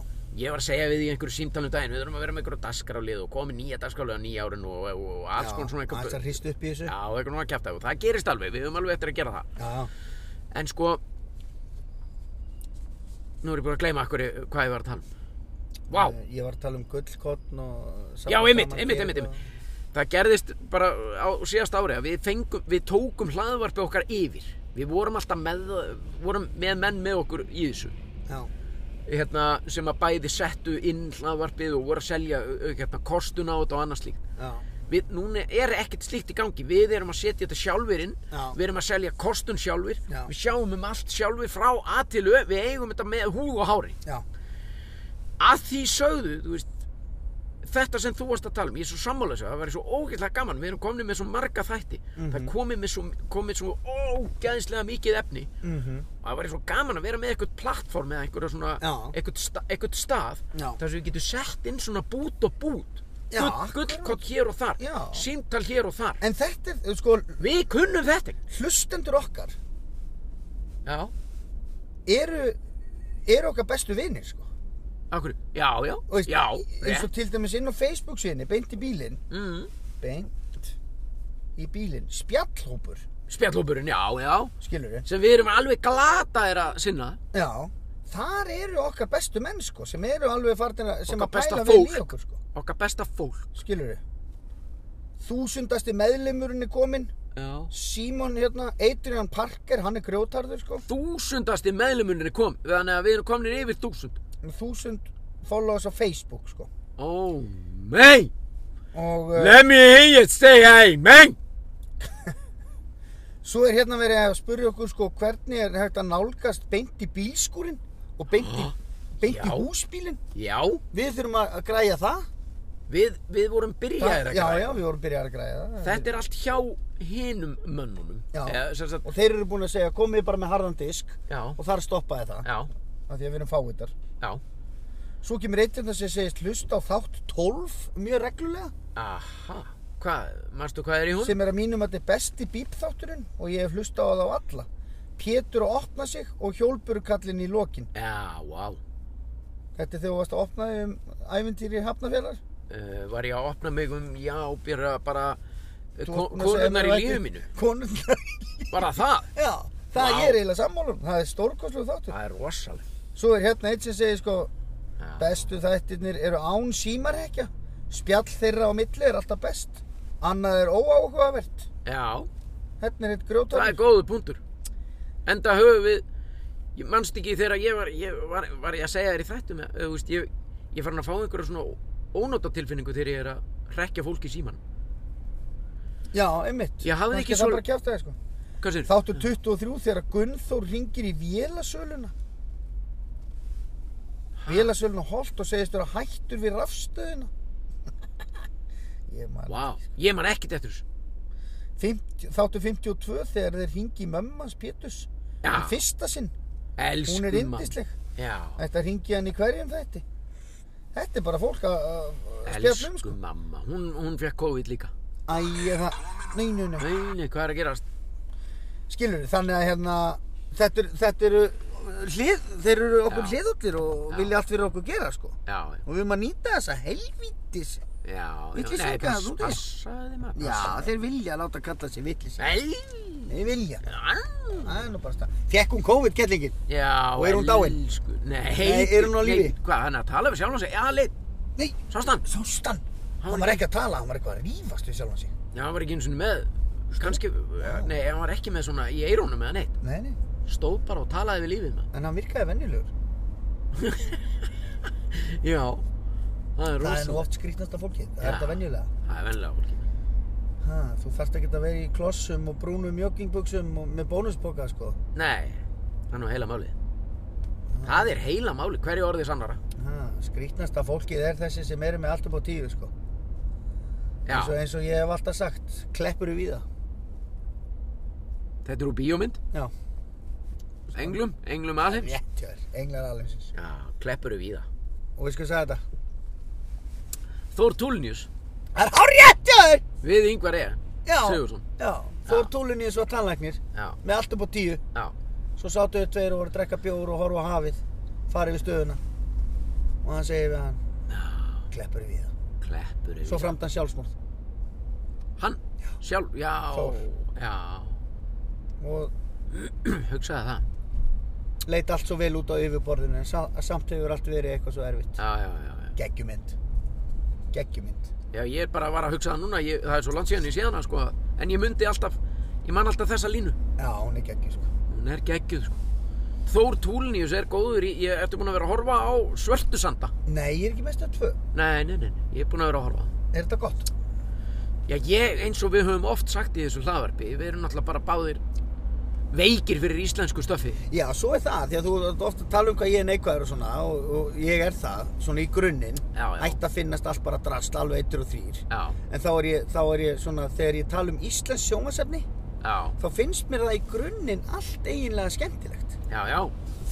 A: ég var að segja við í einhverju símtalum daginn við þurfum að vera með einhverju dasgrálið og komið nýja dagskrálið á nýja árin og, og, og alls konar svona
B: Það er
A: eitthvað
B: að hrist upp í þessu
A: Já, eitthvað svona kjæft og það gerist alveg, við höfum alveg eftir að gera það
B: Já,
A: En sko Nú er ég búin að gleyma akkur hvað ég var að tala um Vá,
B: Eh, Ég var að tala um gullkotn og saman-
A: já, einmitt,
B: saman
A: einmitt,
B: fyrir
A: einmitt,
B: og-
A: einmitt Það gerðist bara á síðast ári að við, fengum, við tókum hlaðvarpi okkar yfir Við vorum alltaf með, vorum með menn með okkur í þessu
B: Já,
A: hérna, sem að bæði settu inn hlaðvarpið og voru að selja au- au- hérna, kostuna á þetta og annað slíkt
B: já,
A: Við, núna er ekkert slíkt í gangi, við erum að setja þetta sjálfur inn,
B: Já.
A: við erum að selja kostun sjálfur,
B: Já.
A: við sjáum um allt sjálfur frá A til Ö, við eigum þetta með húg og hári.
B: já,
A: Að því sögðu, þú veist, þetta sem þú varst að tala um, ég er svo sammála þessu, það væri svo ógeðslega gaman, við erum komin með svo marga þætti, það komið með svo, komið svo ógeðslega mikið efni,
B: mhm,
A: og það væri svo gaman að vera með eitthvað plattform eða eitthvað svona,
B: Já.
A: eitthvað, sta, eitthvað stað,
B: Já.
A: þar sem við getum sett inn svona bút og bút,
B: Já,
A: gull, gullkott hér og þar,
B: Já.
A: símtal hér og þar.
B: En þetta er, sko,
A: Við kunnum þetta ekki.
B: hlustendur okkar
A: Já.
B: eru, eru okkar bestu vinir, sko.
A: Akkur, já, já,
B: Og veist,
A: já,
B: eins og
A: rétt.
B: til dæmis inn á Facebook sinni, beint í bílinn,
A: Mm,
B: beint í bílinn, spjallhópur,
A: spjallhópurinn, já, já,
B: skilur við?
A: sem við erum alveg glataðir að sinna.
B: Já, þar eru okkar bestu menn, sko, sem eru alveg farnir að, sem
A: Okkar
B: að
A: besta
B: pæla vel í
A: fólk.
B: okkur, sko,
A: Okkar besta fólk.
B: skilur við? Þúsundasti meðlimurinn er kominn,
A: Já.
B: Simon hérna, Adrian Parker, hann er grjótarður, sko,
A: Þúsundasti meðlumuninni kom, þannig að við erum komin yfir þúsund.
B: með þúsund followers á Facebook, sko.
A: Ó, mei!
B: Og uh,
A: Let me hear you say hey, mei!
B: svo er hérna verið að spurja okkur, sko, hvernig er hægt að nálgast beint í bílskúrin og beint
A: *gasps*
B: í, beint í
A: Já.
B: húsbílinn?
A: Já,
B: Við þurfum að að græja það.
A: við, við vorum byrjaðir að
B: já,
A: græða.
B: já, við vorum byrjaðir að græja það.
A: Þetta er allt hjá hinum mönnunum.
B: Já.
A: Eða, sem sagt,
B: Og þeir eru búin að segja, komið bara með harðan disk
A: já,
B: og þar stoppaði það.
A: já,
B: Af því að við erum fáiðar.
A: já.
B: Svo kemur eitt hérna sem segist hlusta á þátt 12 mjög reglulega.
A: Aha, hvað, marstu hvað er í hún?
B: Sem er að mínum að þetta er besti bípþátturinn og ég hef hlusta á það á alla. Pétur að opna sig og hjólburukallin í lokin.
A: Já, vá.
B: Þetta er þegar þú varst að opna þig um æventýri hafnafélar.
A: Uh, var ég að opna mig um, já, byrja bara eh,
B: Þú
A: ko-
B: varst búin að segja
A: konurnar
B: mér
A: í
B: að
A: lífi
B: þetta-
A: mínu.
B: Konurnar *laughs* í
A: Bara það.
B: Já, það
A: Vá.
B: ég er eiginlega sammálum. Það er stórkoslu þáttur.
A: Það er rosaleg.
B: Svo er hérna eitt sem segir sko,
A: Já.
B: Bestu þættirnir eru án símarhekja. Spjall þeirra á milli er alltaf best. Annað er óáhugavert.
A: Já,
B: Hérna er
A: það
B: eitt
A: er
B: grjótarður.
A: góðu punktur. Enda höfum við, ég manst ekki þegar ég var, ég var, var ég að segja þér í þættum, eða, þú veist, ég, ég fann að fá einhverja svona ónóta tilfinningu þegar ég er að rekja fólk í síman.
B: Já, einmitt.
A: Ég hafði
B: Kannski
A: ekki
B: það
A: svo-
B: bara kjafta þér sko.
A: Hvað sér?
B: Þáttu 23 þegar Gunnþór ringir í vélasöluna. Vélasöluna holt og segist vera hættur við *laughs* rafstöðina. Ég man.
A: Vá, ég man ekkert eftir þessu.
B: 50, þáttu 52 þegar þeir ringi í mömmans Péturs.
A: Já.
B: Í fyrsta sinn.
A: Elsku
B: Hún er
A: mann.
B: yndisleg.
A: Já,
B: Þetta ringi hann í hverjum þætti. Þetta er bara fólk að að- að spjalla um
A: elsku
B: sko.
A: mamma. Hún, hún fekk COVID líka.
B: Æ, ég það, nei, nei, nei.
A: Nei, nei, hvað er að gerast?
B: Skilur, þannig að hérna, þetta, eru- þetta eru uh, hlið, þeir eru okkur
A: Já.
B: hliðallir og
A: Já.
B: vilja allt fyrir okkur gera sko.
A: Já,
B: Og við erum að nýta þessa helvítis.
A: já, já.
B: Vitleysingar,
A: nei, pass-
B: þú veist.
A: Passaði maður,
B: Já,
A: passaði.
B: þeir vilja láta kalla sig vitlis.
A: Nei.
B: Þeir vilja.
A: Ann.
B: Það er nú bara stað. Fekk hún COVID-kellingin?
A: Já,
B: Og er hún dáin?
A: elsku- Nei,
B: Nei, er hún á
A: nei,
B: lífi?
A: Hvað, hann er að tala við sjálf hans Já, leið,
B: Nei,
A: sást hann?
B: sást hann. Hann var ekki að tala, hann var eitthvað að rífast við sjálfan sig.
A: Já, hann var ekki eins og með kannski, nei, hann var ekki með svona í eirónum eða neitt
B: Nei, nei,
A: Stóð bara og talaði við lífið maður
B: en hann virkaði venjulegur.
A: Já, það er
B: Það er nú
A: rosa
B: oft skrýtnasta fólkið. Það er
A: Já.
B: þetta venjulega.
A: Það er venlega fólki
B: Ha, þú þarft ekki að vera í klossum og brúnum joggingbuksum og með bónusboka sko.
A: Nei, það er nú heila málið Það er heila málið, hverju orðið sannara
B: Ha, skrítnasta fólkið er þessi sem eru með allt upp á tíu sko.
A: Já,
B: Eins og, eins og ég hef alltaf sagt, kleppur við það.
A: þetta er úr bíómynd
B: Já.
A: Englum, englum alheims
B: Rétt hjá þér, englar alveg.
A: Já, kleppur við víða
B: Og við sko sagði þetta.
A: Þór Túlnius,
B: Það er hár rétt hjá þér!
A: við yngvar er
B: Já.
A: Sigurðsson.
B: Já, fór túlunni eins og tannlæknir
A: Já,
B: með allt upp á tíu.
A: já,
B: Svo sátu þau tveir og voru að drekka bjór og horfa á hafið, farið við stöðuna. Og hann segir við hann, kleppur við það.
A: Kleppur yfir.
B: Svo framt hann sjálfsmorð.
A: Hann? Sjálf, já,
B: Þór.
A: já. *clears throat*
B: Og
A: Hugsaði það.
B: leit allt svo vel út á yfirborðinu, en sa- samt hefur allt verið eitthvað svo erfitt.
A: Já, já, já, já.
B: Geggjumynd. Geggjumynd.
A: Já, ég er bara að vara að hugsa það núna. Ég, það er svo langt síðan ég séð hana, sko. En ég myndi alltaf, ég man alltaf þessa línu.
B: Já, hún er geggjum, sko.
A: Hún er geggjuð, sko. Þór Túlnius er góður í, ég ertu búin að vera að horfa á Svörtusanda.
B: Nei, ég er ekki mest að tvö.
A: Nei, nei, nei, nei, ég er búin að vera að horfa á það.
B: Er þetta gott?
A: Já, ég, eins og við höfum oft sagt í þessu hlaðvarpi, við erum náttúrulega bara báðir veikir fyrir íslensku stöfi.
B: Já, svo er það, því að þú ert ofta að tala um hvað ég er neikvæður og svona og, og ég er það, svona í grunninn
A: Já, já.
B: ætti að finnast allt bara drast, alveg eittur og þrýr
A: Já,
B: en þá er, ég, þá er ég svona, þegar ég tala um Íslands sjónvarsefni
A: já,
B: þá finnst mér það í grunninn allt eiginlega skemmtilegt
A: já, já.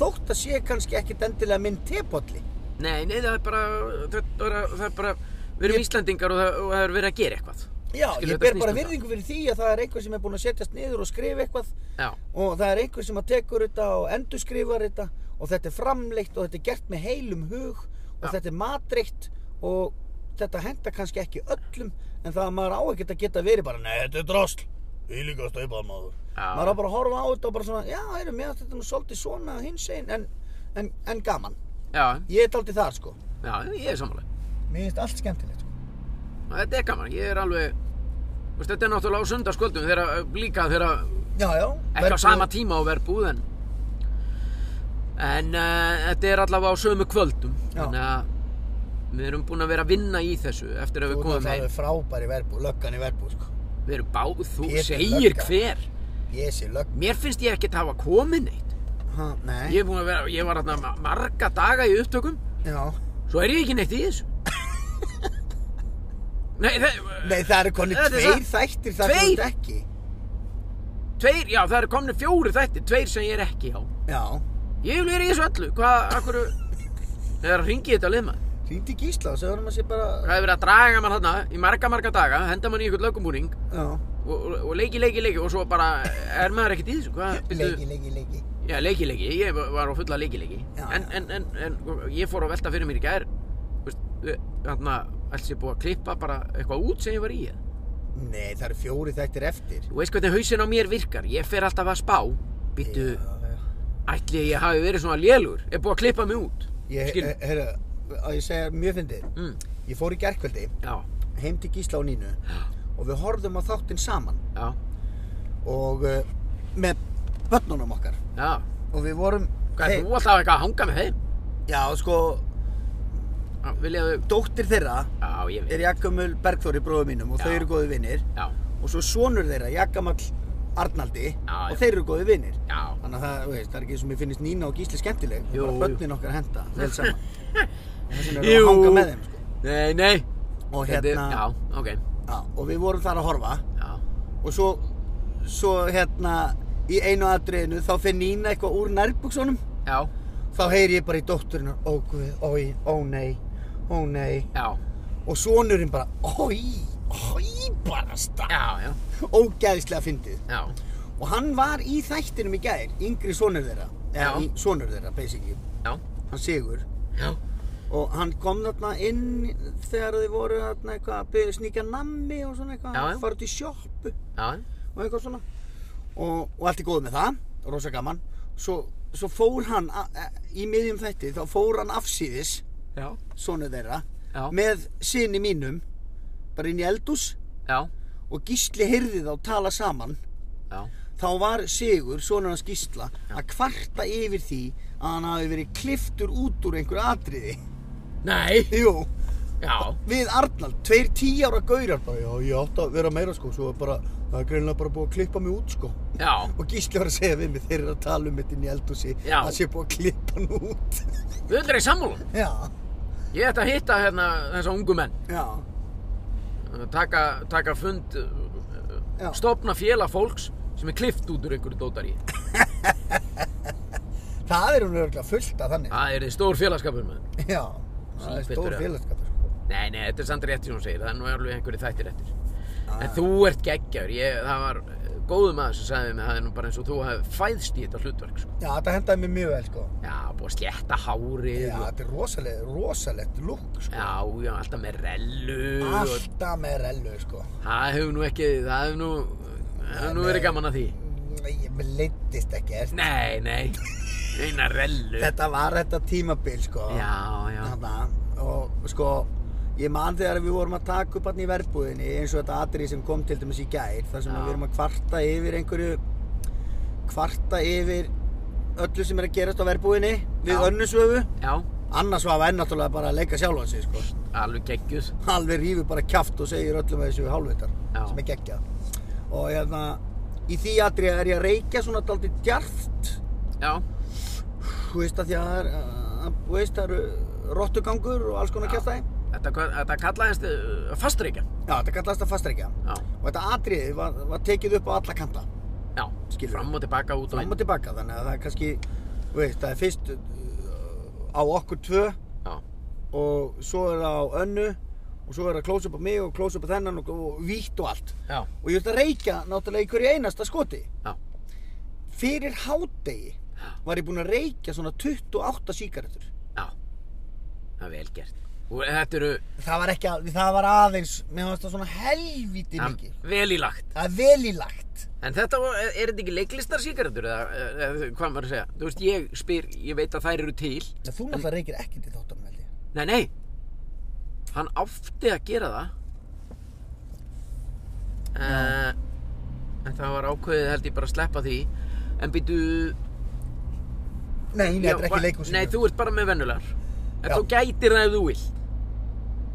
B: þótt að sé kannski ekkit endilega minn tepolli
A: Nei, nei, það er bara, það er, það er bara, við erum Íslandingar og það, og það er verið að gera eitthvað.
B: Já,
A: Skilur,
B: ég
A: þetta
B: ber
A: snýst
B: bara
A: um það.
B: virðingu fyrir því að það er einhver sem er búinn að setjast niður og skrifa eitthvað
A: Já,
B: og það er einhver sem að tekur þetta og endurskrifar þetta og þetta er framleitt og þetta er gert með heilum hug
A: Já.
B: og þetta er matreitt og þetta henda kannski ekki öllum en það að maður á ekkert að geta verið bara Nei, þetta er drasl, ég líka að staupa maður
A: Já.
B: Maður á bara að horfa á þetta og bara svona Já, heyrðu, mér átti þetta nú svolítið svona hins einn en, en, en gaman
A: já,
B: Ég er daldið þar sko
A: já, ég er samanlega.
B: Mér finnst allt skemmtilegt sko
A: Þetta er gaman, ég er alveg, þú veist, þetta er náttúrulega á sundarskvöldum þegar, líka þegar,
B: Já, já
A: ekki á sama tíma og verð búð en, en uh, þetta er allavega á sömu kvöldum.
B: Já.
A: Þannig að við erum búin að vera að vinna í þessu eftir að
B: Þú
A: við
B: ert
A: komum heim.
B: náttúrulega frábæri verbú, löggan í verbú sko
A: Við erum báð, þú
B: Pétur
A: segir
B: lögga.
A: hver.
B: Ég sé lögg
A: Mér finnst ég ekkert hafa komið neitt.
B: Ha, Nei,
A: Ég, er búinn að vera, ég var hérna marga daga í upptökum.
B: já
A: Svo er ég ekki neitt í
B: *laughs*
A: þessu Nei, það,
B: Nei, það eru konir
A: Þetta er
B: tveir
A: satt.
B: þættir þar sem
A: Tveir?
B: þú ert ekki.
A: tveir, já, það eru komni fjóri þættir Tveir sem ég er ekki á
B: Já.
A: Ég vil vera í þessu öllu, hvað, akkur Það er að ringi þetta lið maður
B: Hringdi í Gísla og segður maður sér bara...
A: Það hefur verið að draga mann þarna í marga, marga daga Henda mann í ykkur lögumbúning
B: Já.
A: og, og, og leiki, leiki, leiki Og svo bara er maður ekkert í þessu hvað, byrju-
B: Leiki, leiki, leiki.
A: Já, leiki, leiki, ég var á fulla leiki, leiki
B: Já,
A: en,
B: já.
A: en, en, en ég fór að velta fyrir mér í gær þú veist, Þannig að alls ég búið að klippa bara eitthvað út sem ég var í eða?
B: Nei, það eru fjóri þættir eftir.
A: Þú veist hvernig hausinn á mér virkar, ég fer alltaf að spá Býttu,
B: Já.
A: ætli ég hafi verið svona lélur Er búið að klippa mig út
B: Ég,
A: Skil-
B: eh, heyrðu, á ég að segja mjög fyndið.
A: mm,
B: Ég fór í gerkveldi
A: Já,
B: heim til Gísla og Nínu og við horfðum á þáttinn saman
A: já,
B: og uh, með börnunum okkar
A: já
B: og við vorum...
A: Hvað
B: Hey,
A: er þú alltaf eitthvað að hanga með þeim?
B: Já, sko,
A: Já, Viljaðu,
B: dóttir þeirra
A: já, ég veit
B: er Jakamul Bergþóri bróðu mínum og
A: Já.
B: þau eru góði vinnir
A: Já,
B: og svo sonur þeirra, Jakamall Arnaldi
A: Já,
B: og
A: já.
B: þeir eru góði vinnir
A: já,
B: þannig að það, þú veist, það er ekki sem ég finnist Nína og Gísli skemmtileg það
A: Jú, jú.
B: er bara börnin okkar henda, vel
A: *laughs*
B: saman og þess vegna
A: Jú.
B: erum við að hanga með þeim sko.
A: nei, nei
B: og
A: Þetta er-
B: hérna,
A: Já, ok,
B: já, og við vorum þar að horfa
A: já,
B: og svo, svo hérna í einu atriðinu þá finn Nína eitthvað úr nærbuksunum
A: já,
B: þá heyri ég bara í dótturinn ó guð, ói, ó nei, ó nei
A: já,
B: og sonurinn bara, ói, ói bara stað,
A: já, já,
B: ógæðislega fyndið
A: já
B: og hann var í þættinum í gær, yngri sonur þeirra eða
A: Já.
B: í- sonur þeirra, basically
A: Já,
B: hann Sigur
A: já,
B: og hann kom þarna inn þegar þið voru þarna eitthvað að byrja sníkja nammi og svona eitthvað
A: Já, já.
B: hann farið til sjoppu
A: já,
B: og eitthvað svona og, og allt er góð með það, rosa gaman svo, svo fór hann a, a, í miðjum þætti, þá fór hann afsíðis
A: já,
B: sonur þeirra
A: Já.
B: með sinni mínum bara inn í eldús
A: já,
B: og Gísli heyrði þá tala saman
A: já
B: þá var Sigur, sonur hans Gísla að kvarta yfir því að hann hafi verið kliftur út úr einhverju atriði *laughs*
A: Nei,
B: Jú,
A: já,
B: við Arnald, tveir tí ára gaurar bara, já, ég átti að vera meira sko svo bara, það er greinilega bara búið að klippa mig út sko
A: já
B: og Gísli var að segja við mig þeir eru að tala um þetta inn í eldhúsi
A: Já.
B: að sé búið að klippa hann út *laughs*
A: Við öll er í sammála
B: Já,
A: Ég ætti að hitta hérna þessa ungu menn
B: já,
A: taka, taka fund uh,
B: Já.
A: uh, stofna félag fólks sem er klift út úr einhverju dótari
B: það er hún örgulega fullt af þannig
A: það er þið stór félagskapur með
B: Já, það er
A: Sífellt
B: stór
A: eru-
B: félagskapur sko
A: nei, nei, þetta er samt rétt sem hún segir það er nú alveg einhverju þættir eftir
B: Já,
A: en
B: já.
A: þú ert geggjaður ég, það var eh, góðum að þessu sagði mér það er nú bara eins og þú hafði fæðst í þetta hlutverk sko.
B: Já, þetta hendaði mér mjög vel, sko.
A: Já, búið að slétta hárið
B: Já,
A: og-
B: þetta er rosalegt, rosalegt lúk, sko.
A: Já, já, alltaf með rellu og
B: Alltaf með rellu, sko.
A: það hefur nú ekki, það hefur nú, það hefur nú verið gaman að því.
B: Nei, ég mér leittist ekki, er
A: Nei,
B: *laughs*
A: nei, eina rellu.
B: Þetta var þetta tímabil, sko.
A: Já, já,
B: Þarna, og sko, ég man þegar við vorum að taka upp hann í verbúðinni eins og þetta atrið sem kom til dæmis í gær, þar sem
A: Já.
B: við erum að kvarta yfir einhverju, kvarta yfir öllu sem er að gerast á verbúðinni við
A: Já.
B: önnusvöfu.
A: já,
B: Annarsvafa er náttúrulega bara að leika sjálfan sig, sko.
A: alveg geggjuð.
B: alveg rífur bara kjaft og segir öllum að þessu hálfvitar
A: Já.
B: sem er geggjað og hérna í því aðri er ég að reykja svona daldi djarft
A: Já,
B: þú veist að því að það er uh, þú veist það eru eh, rottugangur og alls konar
A: Já.
B: kjaftaði
A: þetta, hvað- þetta kallaðist uh, fastreikja.
B: já þetta kallast að fastreykja
A: Já,
B: og þetta atriði var, var tekið upp á alla kanta
A: já,
B: Skilur.
A: fram og tilbaka út og
B: fram og tilbaka þannig að það er kannski þú veist það er fyrst uh, á okkur tvö
A: Já,
B: og svo er það á önnu og svo er það close up á mig og close up á þennan og, og vítt og allt
A: já,
B: og ég ætla að reykja náttúrulega í hverju einasta skoti
A: já,
B: fyrir hádegi var ég búinn að reykja svona 28 síkaretur
A: já, það er vel gert. Og þetta eru
B: það var ekki, að, það var aðeins mér fannst það svona helviti
A: ja,
B: mikið
A: vel í lagt.
B: það er vel í lagt
A: En þetta, var- er, er þetta ekki leiklistarsíkaretur eða, eða, eða hvað maður að segja? Þú veist, ég spyr, ég veit að þær eru til.
B: en þú náttúrulega reykir ekkert í þáttunum held ég
A: Nei, nei Hann átti að gera það uh, En það var ákveðið held ég bara að sleppa því En býtu
B: nei,
A: Já,
B: nei, þetta er
A: va-
B: ekki leikhúsinu
A: Nei, þú ert bara með vennulegar En
B: Já.
A: þú gætir það ef þú vilt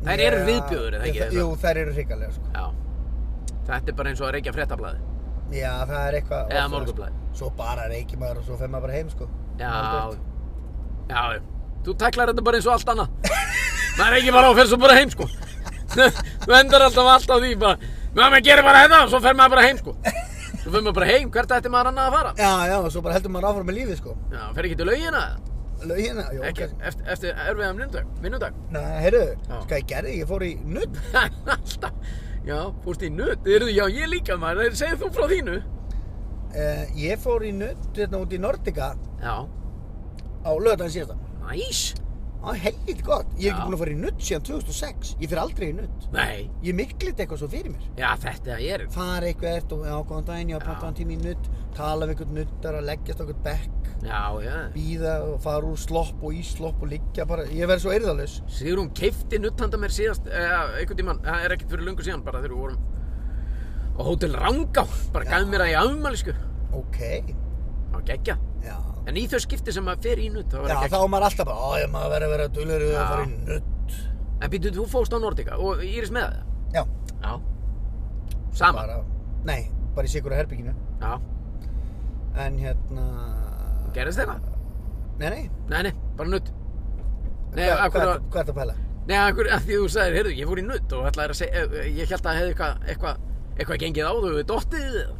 A: Þær eru viðbjóður, eða ekki?
B: jú, þær eru hrikalega sko.
A: Já Þetta er bara eins og að reykja fréttablaði
B: já, það er eitthvað
A: Eða
B: ofsað,
A: Morgunblaðið.
B: sko. svo bara reykir maður og svo fer maður bara heim sko.
A: Já
B: Aldrei.
A: Já, já Þú tæklar þetta bara eins og allt annað Maður er ekki bara á og fer svo bara heim sko *laughs* Þú endar alltaf allt á því bara Maður gerir bara þetta og svo fer maður bara heim sko Svo fer maður bara heim, hvert ætti maður annað að fara?
B: já, já, og svo bara heldur maður áfram með lífið sko.
A: Já, fer ekki til laugina
B: lögina, jú,
A: Ekki,
B: kannski.
A: eftir, eftir erfiðan vinnudag Vinnudag *laughs*
B: nei, heyrðu,
A: Já.
B: sko, ég gerði, ég fór í nudd
A: Alltaf Já, fórst í nutt Yrðu, já, ég líka maður Segðu þú frá þínu
B: uh, ég fór í nudd hérna út í Nordica
A: Já,
B: á lögadaginn síðasta
A: næs
B: Það er helvítið gott. Ég hef
A: Já.
B: ekki búin að fara í nutt síðan 2006. Ég fyrir aldrei í nutt.
A: Nei,
B: Ég miklit eitthvað svo fyrir mér.
A: já, þetta er
B: Fara eitthvað eftir og já, góðan daginn, ég var
A: Já.
B: pantaðan tíma í nutt, tala við einhvern nuttar, að leggjast á einhvern bekk,
A: Já, já
B: býða og fara úr slopp og í slopp og liggja bara. Ég verði svo eyrðalaus.
A: Sigrún keifti nutt handa mér síðast eða einhvern tímann, það er ekkert fyrir lungu síðan bara þegar við vorum á Hótel Rangá bara gaf mér það í afmæli sko
B: Ok,
A: það var geggja
B: já.
A: en í þau skipti sem maður fer í nutt það var
B: Já,
A: ekki
B: þá er maður alltaf bara, já, maður verður að vera dulur við
A: Já.
B: að fara í nutt.
A: en býtu þú fóst á Nordica og Íris með það
B: Já,
A: já sama
B: bara, nei, bara í sikura herbygginu.
A: já
B: En hérna...
A: gerðist þeirra
B: Nei, nei.
A: nei nei bara nutt nei
B: Hvað-
A: akkur
B: hvað ertu- Hvað ertu að pæla?
A: nei akkur *laughs* að því þú sagðir heyrðu ég fór í nutt og ætlaðir að segja ég held að það hefði eitthvað eitthvað eitthvað gengið á þau dottið eða-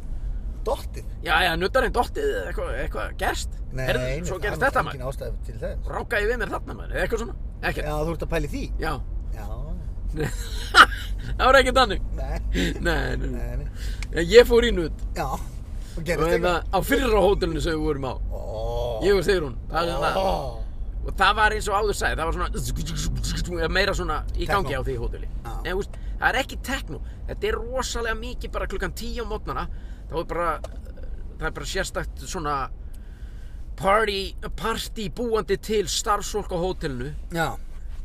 B: Dottið?
A: já já nuttarinn dottið eða eitthvað eitthvað gerst
B: Nei,
A: heyrðu
B: nei,
A: svo
B: það
A: gerist
B: er
A: þetta maður
B: engin ástæða til þess.
A: rákaði við mér þarna maður, eða eitthvað svona
B: Já,
A: ekkert,
B: þú ert að pæli því?
A: já, *laughs*
B: Já.
A: það var ekkert þannig
B: Nei.
A: nei, nei,
B: Nei, nei.
A: nei, ég fór í nutt
B: Já. Þú
A: og
B: gerist
A: hérna
B: eitthvað.
A: á fyrra hótelinu sem við vorum á
B: Ó.
A: ég og Sigrun, um það er hérna. það
B: Ó.
A: og það var eins og áður sagði, það var svona meira svona í
B: Techno.
A: gangi á því hóteli
B: Já.
A: Nei, úst, það er ekki tekno, þetta er rosalega mikið bara klukkan tíu á mótnana þá er bara, það er bara sérstakt svona party, party búandi til starfsólk á hótelinu
B: Já.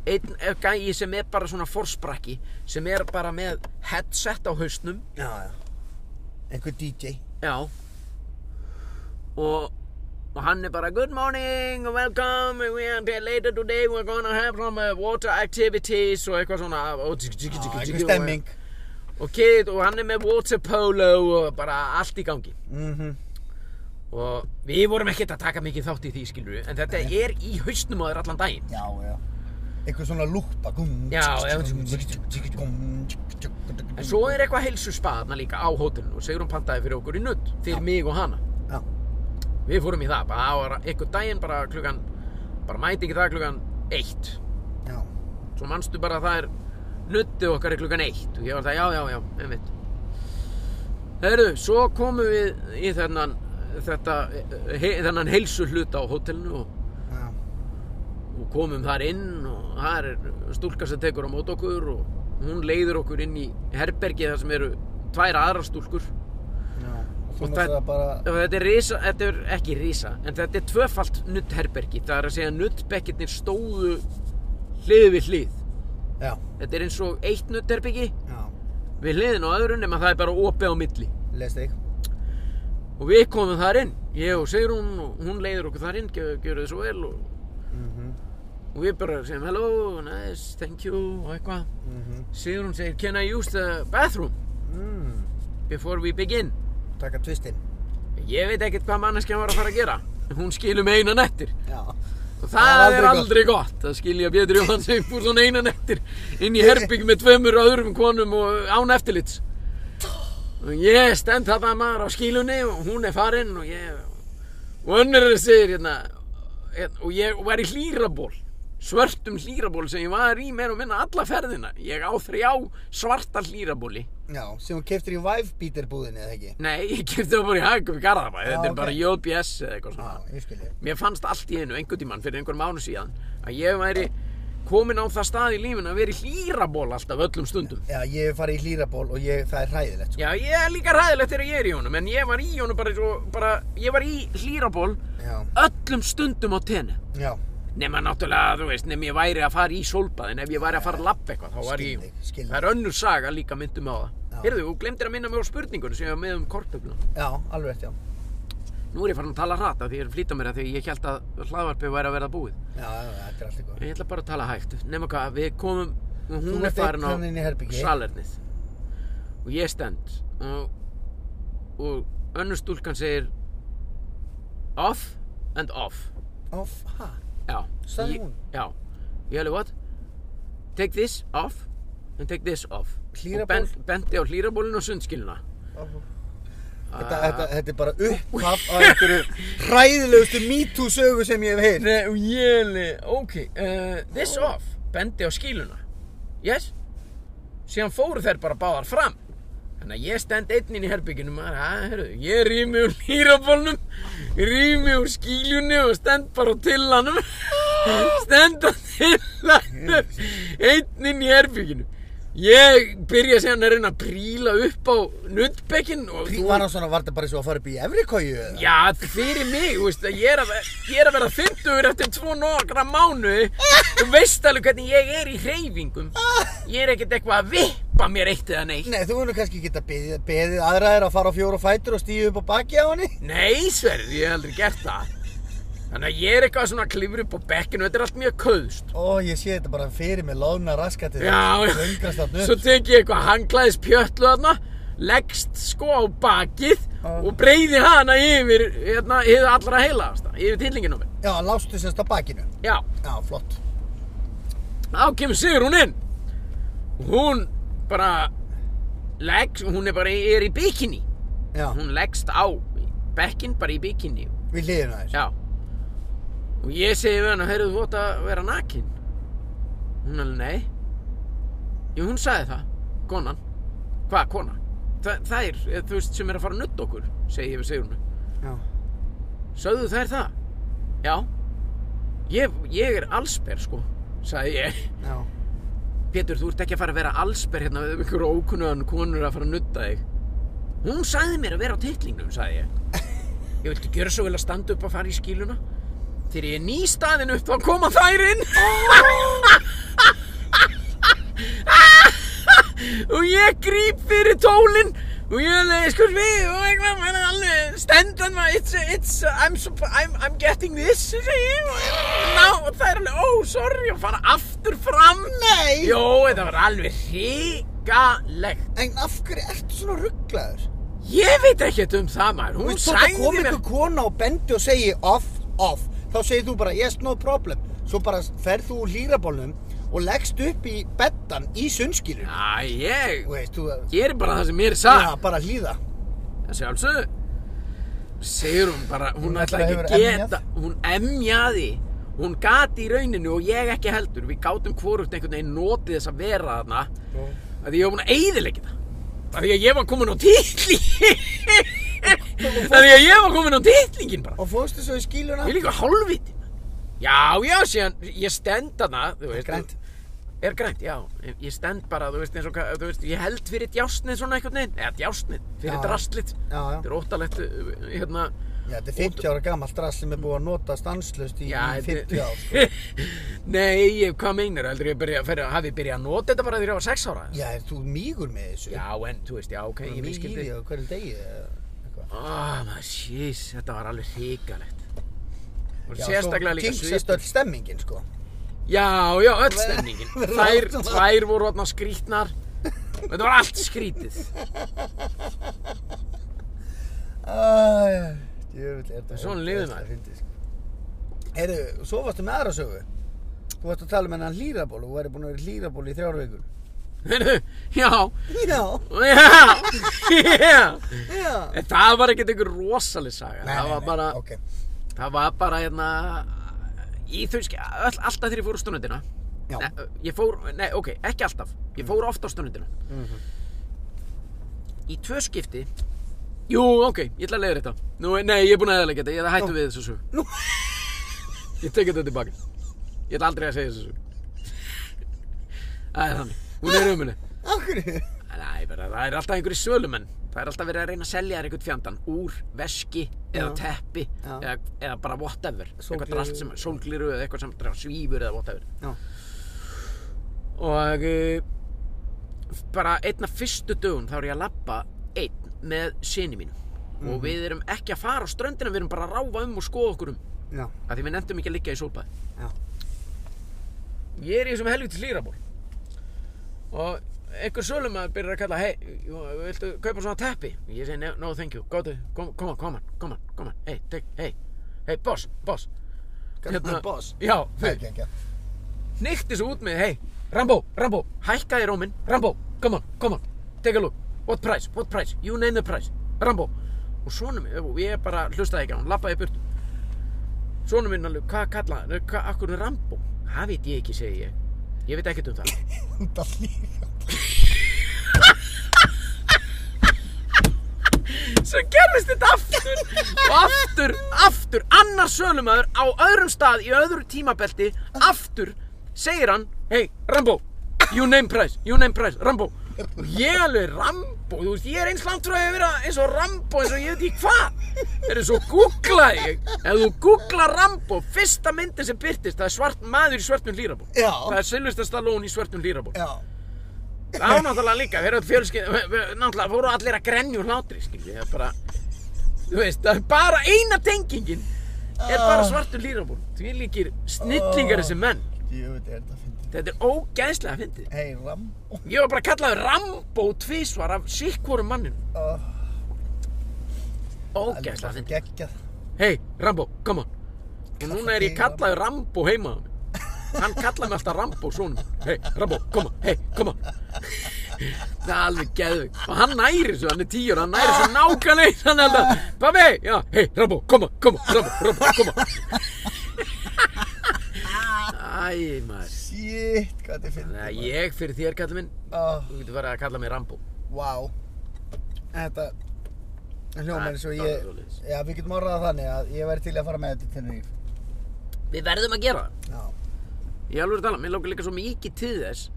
A: einn gæi sem er bara svona forsprakki sem er bara með headset á hausnum
B: Já, já. Einhver DJ.
A: já og og hann er bara good morning and welcome we are here later today we're gonna have some uh, water activities og eitthvað svona og, tsk, tsk, tsk,
B: Já,
A: tsk,
B: Einhver
A: og-
B: stemming.
A: og kid og hann er með water polo og bara allt í gangi
B: Mhm.
A: og við vorum ekkert að taka mikið þátt í því skilur við en þetta er í hausnum á þér allan daginn
B: Já, já. Einhver svona lúpa. Gum,
A: Já, já.
B: gum, gum, gum, gum.
A: en svo er eitthvað heilsuspaðna líka á hótelinu og Sigrun pantaði fyrir okkur í nutt fyrir mig og hana
B: Já.
A: Við fórum í það, bara það var einhvern daginn bara klukkan, bara mæti ekki það klukkan eitt.
B: Já.
A: Svo manstu bara að það er nuttið okkar er klukkan eitt og ég var það, já, já, já, einmitt. Herru, svo komum við í þennan, þetta, he, þennan heilsu hluta á hótelinu og,
B: Já.
A: og komum þar inn og þar er stúlka sem tekur á mót okkur og hún leiður okkur inn í herbergi þar sem eru tvær aðrar stúlkur
B: Já. Og þú
A: Og
B: mátt
A: það-
B: það bara...
A: og þetta er risa, þetta er ekki risa en þetta er tvöfalt nuttherbergi það er að segja að nuttbekkirnir stóðu hlið við hlið
B: Já.
A: þetta er eins og eitt nuttherbergi
B: Já.
A: við hliðin á öðru nema það er bara opið á milli
B: Lest þig.
A: og við komum þar inn ég og Sigrún og hún leiðir okkur þar inn gjör, gjör þið svo vel og,
B: Mhm.
A: og við bara segjum hello, nice, thank you og eitthvað
B: Mhm.
A: Sigrún segir can I use the bathroom
B: Mm.
A: before we begin
B: Taka tvistinn.
A: ég veit ekkert hvað manneskjan var að fara að gera hún skilum einan eftir
B: Já.
A: Og
B: Það
A: það
B: er
A: er
B: aldrei
A: aldrei gott að skilja Pétur Jóhannsson úr svona einan eftir inn í herbygg með tveimur öðrum konum og eh, án eftirlits. Og ég stend þarna maður á skílunni og hún er farin og ég og önnur er segir hérna hérna, og ég var í hlýraból svörtum hlýraból sem ég var í meir og minna alla ferðina. Ég á þrjá svarta hlýrabóli.
B: Já, sem hún keftir í Vivebíter búðinni eða ekki?
A: Nei, ég kemdi það bara í hagum í Garðabæ.
B: Já,
A: Þetta er
B: ok.
A: bara JBS eða eitthvað svona.
B: Já, ég skilji.
A: Mér fannst allt í einu einhvern tímann fyrir einhver mánu síðan að ég væri komin á það stað í lífinu að vera í hlýraból alltaf öllum stundum.
B: Já, ég hef farið í hlýraból og ég, það er hræðilegt sko.
A: Já, ég er líka ræðilegt þegar ég er í honum, en ég var í honum bara, svo, bara ég var í hlýraból
B: Já.
A: öllum stundum á tenni.
B: Já.
A: Nefna náttúrulega, þú veist, nefn ég væri að fara í sólbaðin, ef ég væri að fara að lappa eitthvað, þá var ég í
B: Skil
A: honum.
B: þig, skil
A: Það er önnur saga líka myndum á
B: Já.
A: það. Heyrðu, þú glemdir að minna mig á spurningunum sem ég var með um kortöfluna.
B: Já, alveg rétt, já.
A: Nú er ég farin að tala hratt af því ég er að flýta mér að því ég held að hlaðvarpið væri að verða búið.
B: Já, já, þetta er allt eitthvað.
A: Ég ætla bara að tala hægt, nema hvað, við komum, hún er
B: ert
A: farin
B: einn þarna inni í
A: á
B: herbergi.
A: salernið og ég stend og, og önnur stúlkan segir off and off,
B: Off, ha?
A: já.
B: Sagði
A: Ég-
B: hún?
A: Já, ég hefði what? Take this off and take this off
B: Hlýraból?
A: og bent, benti á hlýrabólinu og sundskiluna. Ah.
B: Þetta, þetta, þetta er bara upphaf á einhverju hræðilegustu MeToo sögu sem ég hef heyrt.
A: Nei, og ég hefði, ok, uh, this off, bendi á skíluna, yes, síðan fóru þær bara báðar fram, þannig að ég stend einn inn í herbyggjunum, maður, að, herru, ég rými úr hýrabólnum, rými úr skílunni og stend bara á tillanum, stend á tillanum, einn inn í herbygginu. Ég byrja síðan að reyna að príla upp á nuttbekkin og
B: Þú var hann svona, var þetta bara svo að fara upp í Efrikóju eða?
A: Já, fyrir mig, þú veist, að ég er að, ég er að vera 50 eftir tvo nokkra mánu Þú veist alveg hvernig ég er í hreyfingum Ég er ekkert eitthvað að vippa mér eitt eða neitt
B: Nei, þú verður kannski geta beðið, beðið aðra þér að fara á fjóra fætur og stíðu upp á baki á henni?
A: Nei, sverð, ég hef aldrei gert það Þannig að ég er eitthvað svona að klifra upp á bekkinu, þetta er allt mjög köðst
B: Ó, ég sé þetta bara fyrir mig, loðna raskatið.
A: Já,
B: Söngrast þarna
A: svo
B: upp.
A: tek ég eitthvað hanglaðis pjötlu þarna Leggst sko á bakið
B: Ah.
A: og breyði hana yfir, hérna, yfir allra heilaðasta, yfir tillinginu á mér
B: Já, lástu semst á bakinu.
A: Já,
B: Já, flott.
A: þá kemur Sigrún inn og hún bara leggst, hún er bara í- er í bikini
B: Já,
A: hún leggst á bekkinn bara í bikini
B: við hliðina þess.
A: já og ég segi við hana, heyrðu þú ótt að vera nakin hún alveg nei jú hún sagði það, konan hvað kona? Þa, þær, eh, þú veist, sem er að fara að nutta okkur segi ég við Sigrúnu
B: Já.
A: Sögðu þær það? Já Ég, ég er allsber sko sagði ég
B: Já.
A: Pétur, þú ert ekki að fara að vera allsber hérna við ykkur ókunnuðan konur að fara að nutta þig. Hún sagði mér að vera á titlingnum, sagði ég. Ég viltu gjöra svo vel að standa upp að fara í skíluna. Þegar ég er ný staðin upp, þá koma þær inn. *laughs* og ég gríp fyrir tólinn og ég leiði, sko, við, og eitthvað, maður er alveg, stendan maður, it's, it's, I'm, so, I'm, I'm getting this, segi ég, og ná, og það er alveg, oh, sorry, og fara aftur fram.
B: Nei!
A: Jó, þetta var alveg hrigalegt.
B: En af hverju ertu svona rugglaður?
A: Ég veit ekkert um það maður,
B: Þú
A: hún
B: veist, þótt að
A: sæði
B: koma
A: mér.
B: einhver kona og bendi og segi off, off, þá segir þú bara yes, no problem. Svo bara ferð þú úr hlýrabólnum og leggst upp í beddan í sunnskilun.
A: Já, ég
B: Þú veist, þú að...
A: gerir bara það sem mér er
B: Já,
A: sagt.
B: bara hlýða.
A: Það sé alls Segir hún bara, hún,
B: Hún
A: ætlaði
B: náttúrulega
A: ekki
B: hefur
A: að geta, hún emjaði, hún gati í rauninu og ég ekki heldur. Við gátum hvorugt einhvern veginn notið þess að vera þarna. Að því ég var búin að eyðilegja það. Af því að ég var komin á titling *laughs* Af því að ég var komin á titlingin bara
B: Og fórstu svo í skíluna?
A: Ég er líka hálfviti Já, já, síðan ég stend hana þú veist,
B: Grænt.
A: Er grænt, já Ég- Ég stend bara, þú veist, eins og hvað- þú veist, ég held fyrir djásnið svona einhvern veginn Eða djásnið, fyrir
B: Já, já.
A: draslit
B: Já, já.
A: Þetta er óttalegt, uh, hérna
B: Já, þetta er 50 ára gammalt rast sem er búið að nota stanslust í,
A: Já,
B: í 50 ár. sko.
A: *laughs* Nei, ég, hvað meinar, heldur ég byrja, fyrir, hafi byrjað að nota þetta bara þegar ég var sex ára
B: Já, er þú mýgur með þessu?
A: Já, en, þú veist, já, ok,
B: Þú
A: ég
B: mýgur í
A: miskildi
B: því á hverjum degi eða eitthvað.
A: Ah, maður, jís, þetta var alveg hrikalegt. Og
B: Já, sko,
A: sérstaklega líka
B: Kingsast
A: svipur.
B: öll stemmingin, sko.
A: Já, já, öll stemningin.
B: Verður
A: Þær,
B: allt svona-
A: þær voru þarna skrítnar. Þetta var allt skrítið.
B: Æ, djöfull, er þetta...
A: Svona lifir maður.
B: Eru, svo varstu með aðra sögu. Þú varst að tala með hennan hlýraból og þú væri búin að vera í hlýraból í þrjár vikur.
A: Heyrðu, já,
B: Já,
A: já, já.
B: já.
A: En það var ekkert einhver rosaleg saga. það var bara,
B: Ok,
A: það var bara, hérna, í þau skil, all, alltaf þegar ég fór á stundina.
B: já.
A: Nei, ég fór, nei, ok, ekki alltaf. Ég fór oft á stundina.
B: Mhm.
A: Í tvö skipti, jú, ok, ég ætla að leiða þetta. Nú, nei, ég er búin að eðalega þetta, ég ætla að hættu
B: Nú.
A: við þessu sög.
B: Nú.
A: Ég tekið þetta tilbaka. Ég ætla aldrei að segja þessu sög. Það er þannig, hún er um henni.
B: Akkur,
A: Nei, bara, það er alltaf einhverju sölumenn. Það er alltaf verið að reyna að selja þér einhvern fjandann úr veski eða
B: Já.
A: teppi
B: Já.
A: eða, eða bara whatever. Eitthvað
B: Sólgleru.
A: drast sem, sólgliru eða eitthvað sem svífur eða whatever
B: já.
A: og uh, bara einn af fyrstu dögun þá er ég að labba einn með sinni mínum og við erum ekki að fara á ströndina við erum bara að ráfa um og skoða okkur um
B: Já,
A: af því við nefndum ekki að liggja í sólbæði
B: já.
A: ég er í þessum helvitis lýraból og einhver sölumæður byrjar að kalla hei, viltu kaupa svona teppi ég segi "No, no thank you, góðu, koma, koma, koma koma, koma, hei, tek, hei hei, boss, boss
B: Kallar
A: Hérna-
B: það boss?
A: já,
B: Það er ekki,
A: Nýtti svo út með, hei, Rambo, Rambo, hækkaði róminn, Rambo, come on, come on, take a look, what price, what price, you name the price, Rambo. Og svona minn, og ég bara hlustaði ekki á hann, lappaði í burtu. Svona minn alveg, hvað kallaði hann, hvað, akkur er Rambo? Það veit ég ekki, segi ég. Ég veit ekkert um það.
B: ekki. Það líka.
A: Svo gerðist þetta aftur og aftur, aftur, annar sölumæður á öðrum stað í öðru tímabelti, aftur segir hann, hei, Rambo, you name price, you name price, Rambo. Og ég alveg Rambo, þú veist, ég er eins langt frá því að vera eins og Rambo eins og ég veit ekki hvað. Er svo googlaði ég, ef þú googlar Rambo, fyrsta myndin sem byrtist, það er svart maður í svartum hlýraból.
B: Já.
A: Það er Sylvester Stallone í svartum hlýraból.
B: Já.
A: Það var náttúrulega líka, þeir eru öll fjölskyld, náttúrulega fóru allir að grenja úr hlátri, skiljið, það er bara, þú veist, það er bara eina tengingin, er bara svartur lýrabúr, því líkir snillingar þessi menn,
B: Ég veit, er þetta fyndið.
A: þetta er ógæðslega fyndið.
B: Hei, Rambo.
A: Ég var bara kallaður Rambo tvísvar af sikkvorum manninu,
B: Oh,
A: ógæðslega fyndið.
B: Geggjað.
A: Hei, Rambo, come on, og núna er ég kallaður Rambo heimaðan, hann kallaði mig alltaf Rambo, svona, hei, Rambo, come on, hei, come on. Það er alveg geðvig Og hann næri svo, hann er tíur, hann næri svo nákvæmlega eins, Hann held að, pabbi, já, hei, Rambo, koma, koma, Rambo, Rambo, koma Æ, maður
B: Shit, hvað þetta er fyndið.
A: Þannig að ég fyrir þér, kallið minn
B: Oh,
A: Þú getur verið að kalla mig Rambo
B: wow. Þetta hljómar eins og
A: Þetta er
B: ég...
A: svoleiðis.
B: Já, við getum orðað það þannig að ég væri til að fara með þetta til Tenerife.
A: Við verðum að gera það
B: Já.
A: Ég alveg er að tala, mér lókar líka svo mikið til þess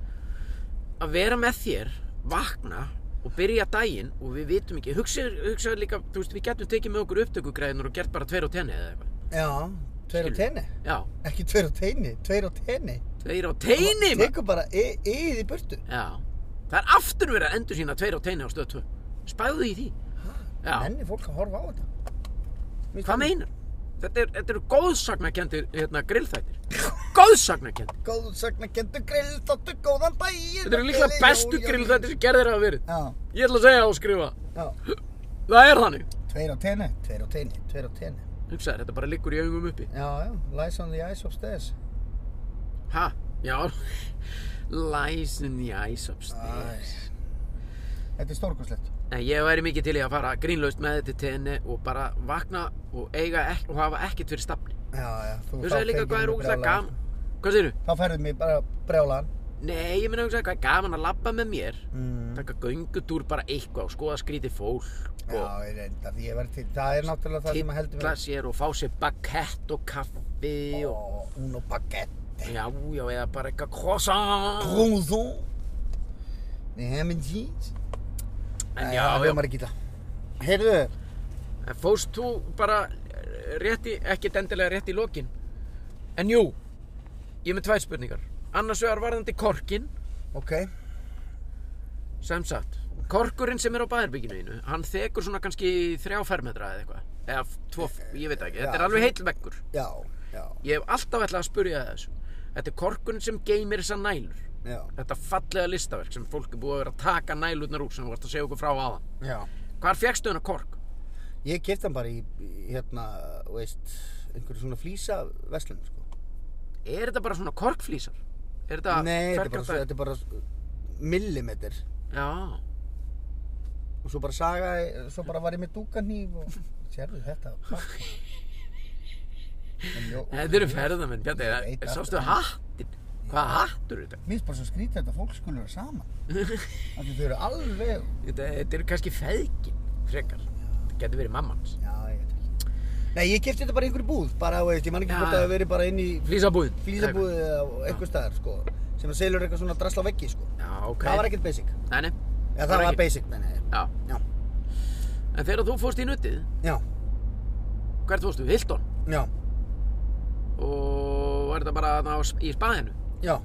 A: Að vera með þér, vakna og byrja daginn og við vitum ekki hugsaðu hugsa líka, þú veist, við getum tekið með okkur upptökugræðinur og gert bara tveir og tenni eða eitthvað
B: Já, tveir á
A: Skilur.
B: tenni.
A: Já,
B: Ekki tveir á tenni, tveir á tenni.
A: Tveir á teini maður.
B: Tekur bara y- yð í burtu.
A: Já Það er aftur verið að endur sína tveir á teini á stöð 2 Spæðu í því Já
B: Nenni fólk að horfa á þetta.
A: Hvað
B: Mér finnst
A: meinar? Þetta, er, þetta eru góðsagnakendir hérna, grillþættir Góðsagnakendir
B: það Góðsagnakendu grillþáttu, góðan daginn.
A: Þetta eru líklega bestu grillþættir sem gerðir hafa verið
B: Já,
A: Ég ætla að segja og skrifa
B: já.
A: Það er þannig
B: Tveir á tenni, tveir á tenni, tveir á tenni.
A: Hugsaður, þetta bara liggur í augum uppi
B: Já, já, lies on the ice upstairs.
A: Ha? Já *laughs* Lies in the ice upstairs
B: Þetta er stórkoslegt.
A: Nei, ég væri mikið til í að fara grínlaust með þetta til tenni og bara vakna og eiga ek og hafa ekkert fyrir stafni
B: Já, já. Þú
A: Hugsaðu líka hvað er ógæslega gaman Hvað segirðu?
B: Þá færðu mér bara brjálan.
A: Nei, ég meina hugsa, hvað er gaman að labba með mér
B: Mm.
A: Taka göngutúr bara eitthvað og skoða skrítið fólk
B: Já,
A: og
B: ég reynda, því ég verð til, það er náttúrulega það sem að heldur
A: Tittla
B: mér.
A: sér og fá sér bakett og kaffi og
B: Ó, hún og baguette.
A: Já, já, eða bara eitthvað croissant
B: Brúðum. Með ham and cheese.
A: En
B: Nei,
A: já,
B: það
A: já,
B: hljómar ekki í dag. Heyrðu,
A: en fóst þú bara eh, rétt í, ekkert endilega rétt í lokin En jú, ég er með tvær spurningar Annars vegar varðandi korkin
B: ok.
A: sem sagt, korkurinn sem er á baðherbygginu einu, hann þekur svona kannski þrjá fermetra eða eitthvað, eða f- tvo, f- ég veit ekki, þetta
B: Eh, Já,
A: er alveg heill veggur.
B: Já, já,
A: Ég hef alltaf ætlað að spurja þessu. Þetta er korkurinn sem geymir þessar nælur.
B: já,
A: Þetta fallega listaverk sem fólk er búið að vera að taka nælurnar úr sem þú varst að segja okkur frá aðan.
B: já.
A: Hvar fjekkstu hennar kork?
B: Ég kefti hann bara í, í, hérna, þú veist, einhverju svona flýsa veslunum, sko.
A: Er þetta bara svona korkflísar? Er þetta...
B: Nei, þetta er bara,
A: ferkantað-
B: þetta er bara s- millimetr
A: Já,
B: og svo bara saga, svo bara var ég með dúkanýf og sérðu þetta pakk. En jó-
A: þetta eru ferðamenn, Bjarni,
B: Ég veit um
A: sástu
B: alltaf.
A: hattin? Hvað hattur þetta?
B: Mér finnst bara svo skrítið að þetta fólk skulle vera saman Af því þau eru alveg
A: Þetta, þetta eru kannski feðgin, frekar. Þetta getur verið mammans.
B: Já, ég veit ekki Nei, ég kefti þetta bara í einhverju búð bara, þú veist, ég man ekki
A: Já.
B: hvort að það veri bara inn í
A: Flísabúðin.
B: flýsabúð eða einhver staðar, sko sem að selur eitthvað svona drasla á veggi, sko
A: Já, ok.
B: Það var ekkert basic
A: Nei, nei.
B: Já, það var
A: ekki-
B: basic, nei, nei
A: Já.
B: Já,
A: En þegar þú fórst í nuttið,
B: já,
A: hvert fórstu? Hilton.
B: já,
A: Og var þetta bara þarna á, sp- í spaðinu?
B: já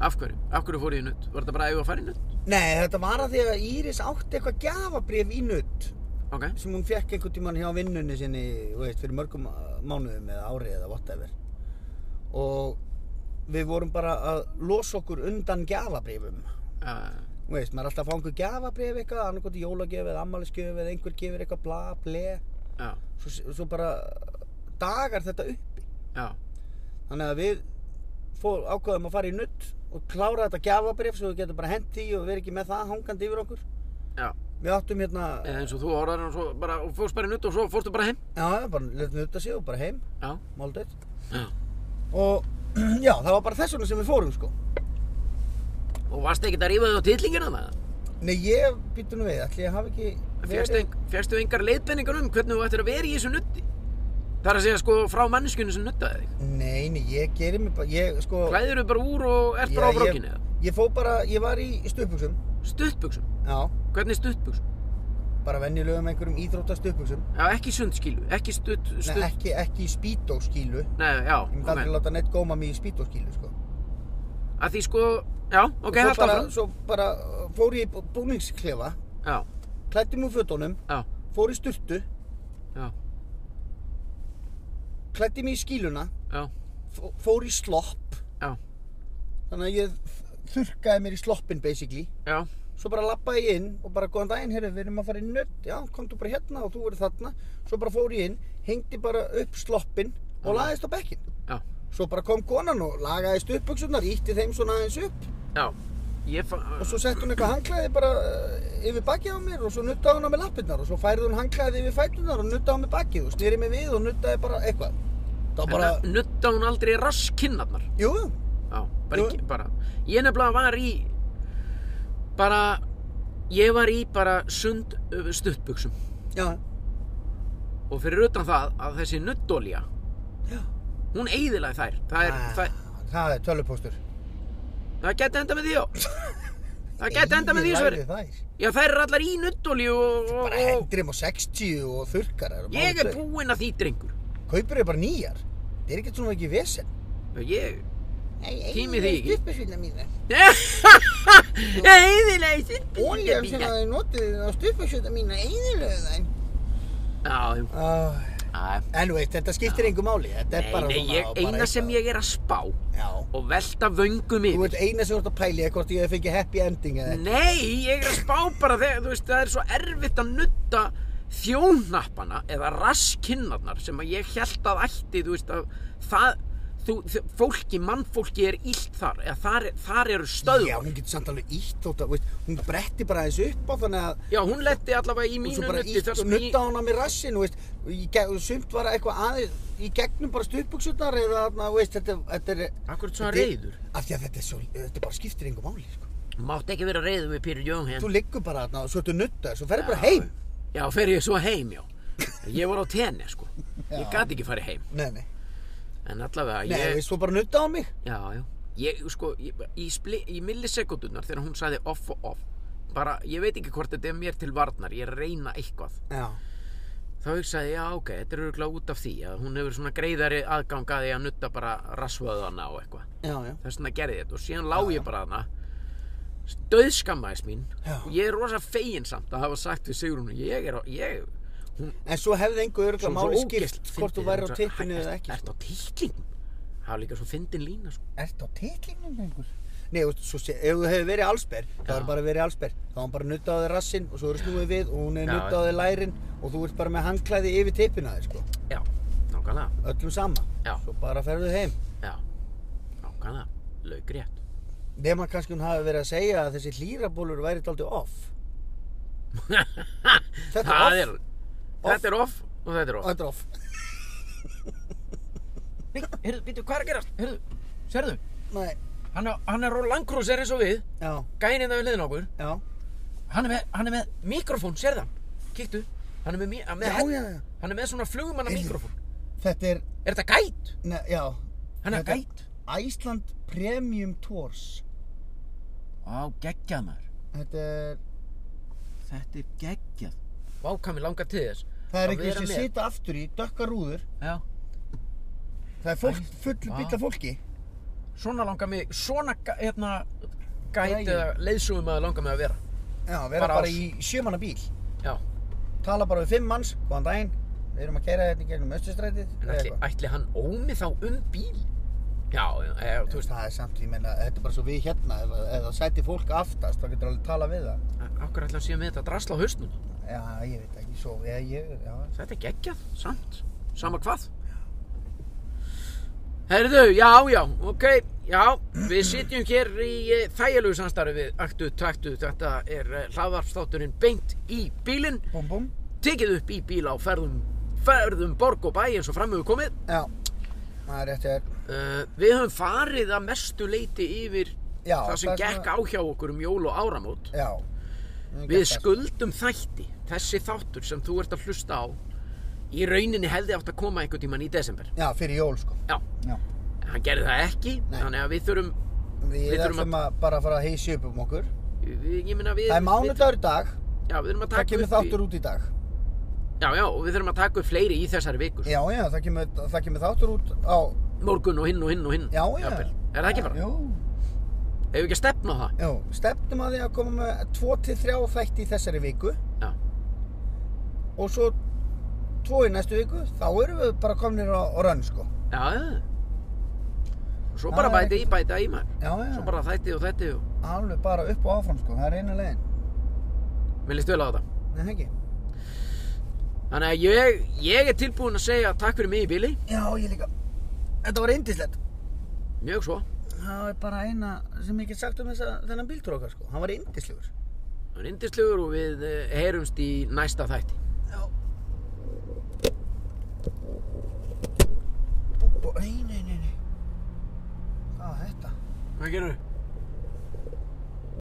A: Af hverju? Af hverju fór ég í nutt? Var þetta bara að ég var að fara í nutt?
B: Nei, þetta var að því að Íris átti eitthvað gjafabrif í nutt
A: Ok.
B: sem hún fekk einhvern tímann hjá vinnunni sinni þú veist, fyrir mörgum uh, mánuðum eða ári eða whatever og við vorum bara að losa okkur undan gjafabrifum
A: Uh,
B: Þú veist, maður er alltaf að fá einhver gjafabrif eitthvað annarkot í jólagjöf eða ammælisgjöf eða einhver gefur eitthvað bla ble
A: já,
B: svo, svo bara dagar þetta uppi
A: já,
B: þannig að við fór, ákvaðum að fara í nutt og klára þetta gjafabrif svo við getum bara hent í og við erum ekki með það hangandi yfir okkur
A: já.
B: við áttum hérna
A: Eða eins og þú orðar og svo bara, og fórst bara í nutt og svo fórstu bara heim.
B: já, já, bara letum við út að séu og bara heim
A: Já,
B: máldöð
A: já.
B: og *clears throat* já, það var bara þess vegna sem við fórum sko
A: Og varst ekkert að rífa þig á tillingina það?
B: Nei, ég býtu nú við, ætli ég hafi ekki
A: Fjækstu, ein, fjækstu engar leiðbenningar um hvernig þú ættir að vera í þessu nutti? Það er að segja sko frá manneskjunni sem nuttaði þig.
B: Nei, nei, ég geri mig bara, ég sko
A: Klæðir þú bara úr og ert
B: Já,
A: bara á
B: ég-
A: brókinni eða?
B: Ég fó bara, ég var í stuðbuksum
A: Stuttbuxum?
B: Já,
A: Hvernig stuttbuxum?
B: bara venjulegum einhverjum íþrótta stuðbuksum
A: Já, ekki sundskilu, ekki stutt, stutt...
B: Nei, ekki, ekki í spýtóskílu Ég
A: Nei, já,
B: myndi
A: ok.
B: aldrei láta neitt góma mig í spýtóskílu, sko
A: Að því sko, já, ok,
B: Svo
A: hægt
B: bara,
A: áfram.
B: Svo bara uh, fór ég í bú- búningsklefa
A: Já,
B: Klæddi mig úr fötunum
A: já,
B: Fór í sturtu
A: já,
B: Klæddi mig í skíluna
A: já,
B: fó- Fór í slopp
A: já,
B: Þannig að ég þ- þurrkaði mér í sloppin, basically
A: já,
B: Svo bara lappaði ég inn og bara góðan daginn, heyrðu, við erum að fara í nött, já, komdu bara hérna og þú verður þarna. Svo bara fór ég inn, hengdi bara upp sloppinn og lagðist á bekkinn.
A: já,
B: Svo bara kom konan og lagaði stuppbuksunar, ítti þeim svona aðeins upp
A: já. Ég fann...
B: og svo sett hún eitthvað hanglaði bara eh, yfir bakið á mér og svo nuttaði hún á mig lappirnar og svo færði hún hanglaði yfir fætunar og nuttaði á mig bakið og snýri mig við og nuttaði bara eitthvað. Það var bara,
A: Bara... Nutta Hérna, hún aldrei raskinnarnar?
B: jú, jú,
A: Já, bara
B: Jú.
A: ekki, bara... Ég nefnilega var í... Bara... Ég var í bara sund ö, stuttbuxum.
B: já,
A: Og fyrir utan það að þessi nuttolja,
B: já.
A: hún eyðilaði þær. Það er...
B: Ah,
A: Það,
B: það er tölvupóstur.
A: það geti enda með
B: *laughs*
A: því á. Það geti enda með því,
B: Eigið
A: Sverri.
B: lagði þær.
A: Já, þær eru allar í nuttolju og... og-
B: Bara
A: og-
B: hendrim á 60 og þurrkar. það eru
A: Ég
B: málið
A: er
B: tveir.
A: búinn að því, drengur.
B: kaupir þau bara nýjar það er ekkert svona ekki vesen
A: Já, Ég... *laughs* Tími þig ekki.
B: stuppisvílna mína
A: Eðilega
B: óljan sem
A: Já,
B: þau notuðu á stuppisvílna mína einilega þeim
A: já.
B: uh,
A: Æ,
B: en veit, þetta skiptir engu máli þetta er
A: Nei,
B: bara
A: nei,
B: svona
A: ég,
B: bara
A: eina
B: eitthvað.
A: sem ég er að spá
B: já
A: og velta vöngum
B: þú
A: yfir
B: veit eina sem þú ert að pæli eða hvort ég hef fengið happy ending eða ekki
A: Nei, ég er að spá bara þegar, þú veist, það er svo erfitt að nutta þjónappana eða raskinnarnar sem að ég held að ætti, þú veist, að það, þú, þ- fólki, mannfólki er illt þar, eða þar, þar eru stöðvar.
B: Já, hún getur samt alveg ítt þótt að, veist, hún bretti bara aðeins upp á þannig að
A: Já, hún letti allavega í
B: og svo
A: mínu
B: bara
A: nutti
B: ítt og nutta hana með rassin, þú veist, og í ge- og sumt var eitthvað aðeins í gegnum bara stuðbuksurnar eða þarna, þú veist, þetta, þetta er...
A: Akkur er svona
B: þetta er-
A: reyður.
B: Af því að þetta er svo, þetta bara skiptir engu máli, sko.
A: Mátt ekki vera reyður með Píri Jónhen.
B: Þú liggur bara þarna og svo ertu nutta, svo ferðu bara heim.
A: Já, fer ég svo heim, já. Ég var á tenni, sko. Ég
B: Já.
A: gat ekki farið heim.
B: Nei, nei,
A: En allavega,
B: nei, þú
A: ég...
B: veist, svo bara nutta á mig.
A: Já, já. Ég, sko, ég, í, spli, í millisekundunar þegar hún sagði off og off, bara, ég veit ekki hvort þetta er mér til varnar, ég er að reyna eitthvað.
B: Já,
A: Þá hugsaði ég, já, ok, þetta er örgulega út af því að hún hefur svona greiðari aðgang að því að nutta bara rassvöðana og eitthvað.
B: já, já.
A: Þess vegna gerði ég þetta og síðan lág ég bara hana, döðskammaðis mín
B: Já.
A: og ég er rosa fegin samt að hafa sagt við Sigrúnu, ég er, á- ég, hún,
B: En svo hefði engu örgulega
A: Svona svo
B: máli
A: ógeðslega
B: skipt
A: fyndið,
B: hvort þú væri á
A: hún sagði,
B: tippinu
A: "Hæ, ert-
B: eða ekki. sko.
A: Ertu á tittlingum? Það var líka svo fyndin lína sko.
B: Ertu á titlingnum lengur? Nei, þú veist, svo sé, ef þú hefur verið allsber, það
A: Já.
B: er bara verið allsber. Þá er hún bara nutt á þig rassinn og svo eru snúið við og hún er
A: Já,
B: nutt á
A: já.
B: þig lærin og þú ert bara með handklæði yfir tippinu að þig, sko.
A: Já, nákvæmlega
B: Öllum sama.
A: Já.
B: Svo bara ferðu heim.
A: Já, nákvæmlega, laugrétt
B: Nefna kannski hún hafi verið að segja að þessi hlýrabólur væri daldið off. *laughs* Þetta er
A: Það
B: off.
A: er, Þetta er off og þetta er off
B: Þetta er off.
A: Nei, heyrðu, býttu, hvað er að gerast? Heyrðu, sérðu,
B: Nei,
A: hann, er- hann er á langkrúsir eins og við
B: já,
A: Gæin þetta við hliðin á okkur
B: já.
A: Hann er með, hann er með mikrofón, sérðu hann Kíktu, hann er með, mi- með
B: Já,
A: hel-
B: já, já.
A: Hann er með svona flugmanna
B: Heyrðu.
A: mikrofón
B: Þetta er,
A: Er þetta gæt?
B: ne, já.
A: Hann er
B: Þetta-
A: gæt
B: Iceland Premium Tours.
A: Á, geggjað maður
B: Þetta er,
A: Þetta er geggjað Vá, hvað mér langar til þess
B: það
A: Að
B: er einhver
A: vera
B: sem
A: með.
B: sita aftur í, dökka rúður.
A: Já
B: Það er fólk, full
A: vá.
B: bíll af fólki.
A: Svona langar mig, svona ga- hérna
B: Græjur.
A: Gæti eða leiðsúum að langar mig að vera
B: Já, vera
A: Bara
B: bara,
A: alls.
B: í sjömanna bíl.
A: Já
B: Tala bara við fimm manns, góðan daginn. Við erum að kæra hérna í gegnum östustrætið.
A: En ætli, ætli hann ómi þá um bíl? Já, já, já, þú veist
B: Það er samt, ég meina, þetta er bara svo við hérna. Ef, ef það sæti fólk aftast, þá getur alveg tala við það.
A: Akkur ætla hann síðan með þetta drasla á hausnum
B: Já, ég veit ekki, svo, ég, ég, já.
A: Þetta er geggjað, samt Sama hvað Herðu, já, já, ok Já, við sitjum hér í eh, þægilegu samstarfi við Aktu Taktu Þetta er eh, hlaðvarpstátturinn beint í bílinn
B: Búm, búm.
A: tekið upp í bíla og ferðum, ferðum borg og bæ eins og fram hefur komið.
B: Já, það er rétt hér.
A: Uh, við höfum farið að mestu leiti yfir
B: Já,
A: það sem
B: það er
A: gekk á hjá okkur um jól og áramót.
B: Já.
A: Við skuldum þætti, þessi þáttur sem þú ert að hlusta á, í rauninni hefði átt að koma einhvern tíman í desember.
B: Já, fyrir jól, sko.
A: Já,
B: Já.
A: en hann gerði það ekki,
B: Nei.
A: þannig að við þurfum,
B: Við,
A: Við þurfum
B: ætlum að bara að fara að heysi upp um okkur.
A: við, ég meina við...
B: Það er mánudagur í dag,
A: Við, já, við þurfum að
B: það
A: taka
B: kemur
A: upp í...
B: þáttur út í dag.
A: Já, já, og við þurfum að taka upp fleiri í þessari viku. sko.
B: Já, já, það kemur, það kemur þáttur út á...
A: Morgun og hinn og hinn og hinn.
B: Já, já.
A: jafnvel. Er það ekki bara?
B: Jú,
A: Hefur við ekki að stefna á það?
B: Já, stefnum að því að koma með 2-3 þætti í þessari viku
A: Já.
B: og svo 2 í næstu viku, þá erum við bara komnir á, á rönn sko.
A: Já, já. Og Svo
B: Já,
A: bara
B: það er
A: bæti í,
B: ekkert-
A: bæti í maður.
B: Já, já,
A: Svo bara þætti og þætti og...
B: alveg bara upp og áfram sko, það er eina leiðin.
A: Mér líst vel á þetta.
B: Nei, það ekki.
A: Þannig að ég, ég er tilbúinn að segja takk fyrir mig í bíli.
B: Já, ég líka. Þetta var reyndislegt.
A: Mjög svo.
B: Það er bara eina sem ég get sagt um þessa, þennan bíltróka sko, hann var reyndislefur.
A: Það er yndislegur og við eh, heyrumst í næsta þætti.
B: Já. Bú, bú, nei, nei, nei, nei. Hvað var þetta?
A: Hvað gerur þau?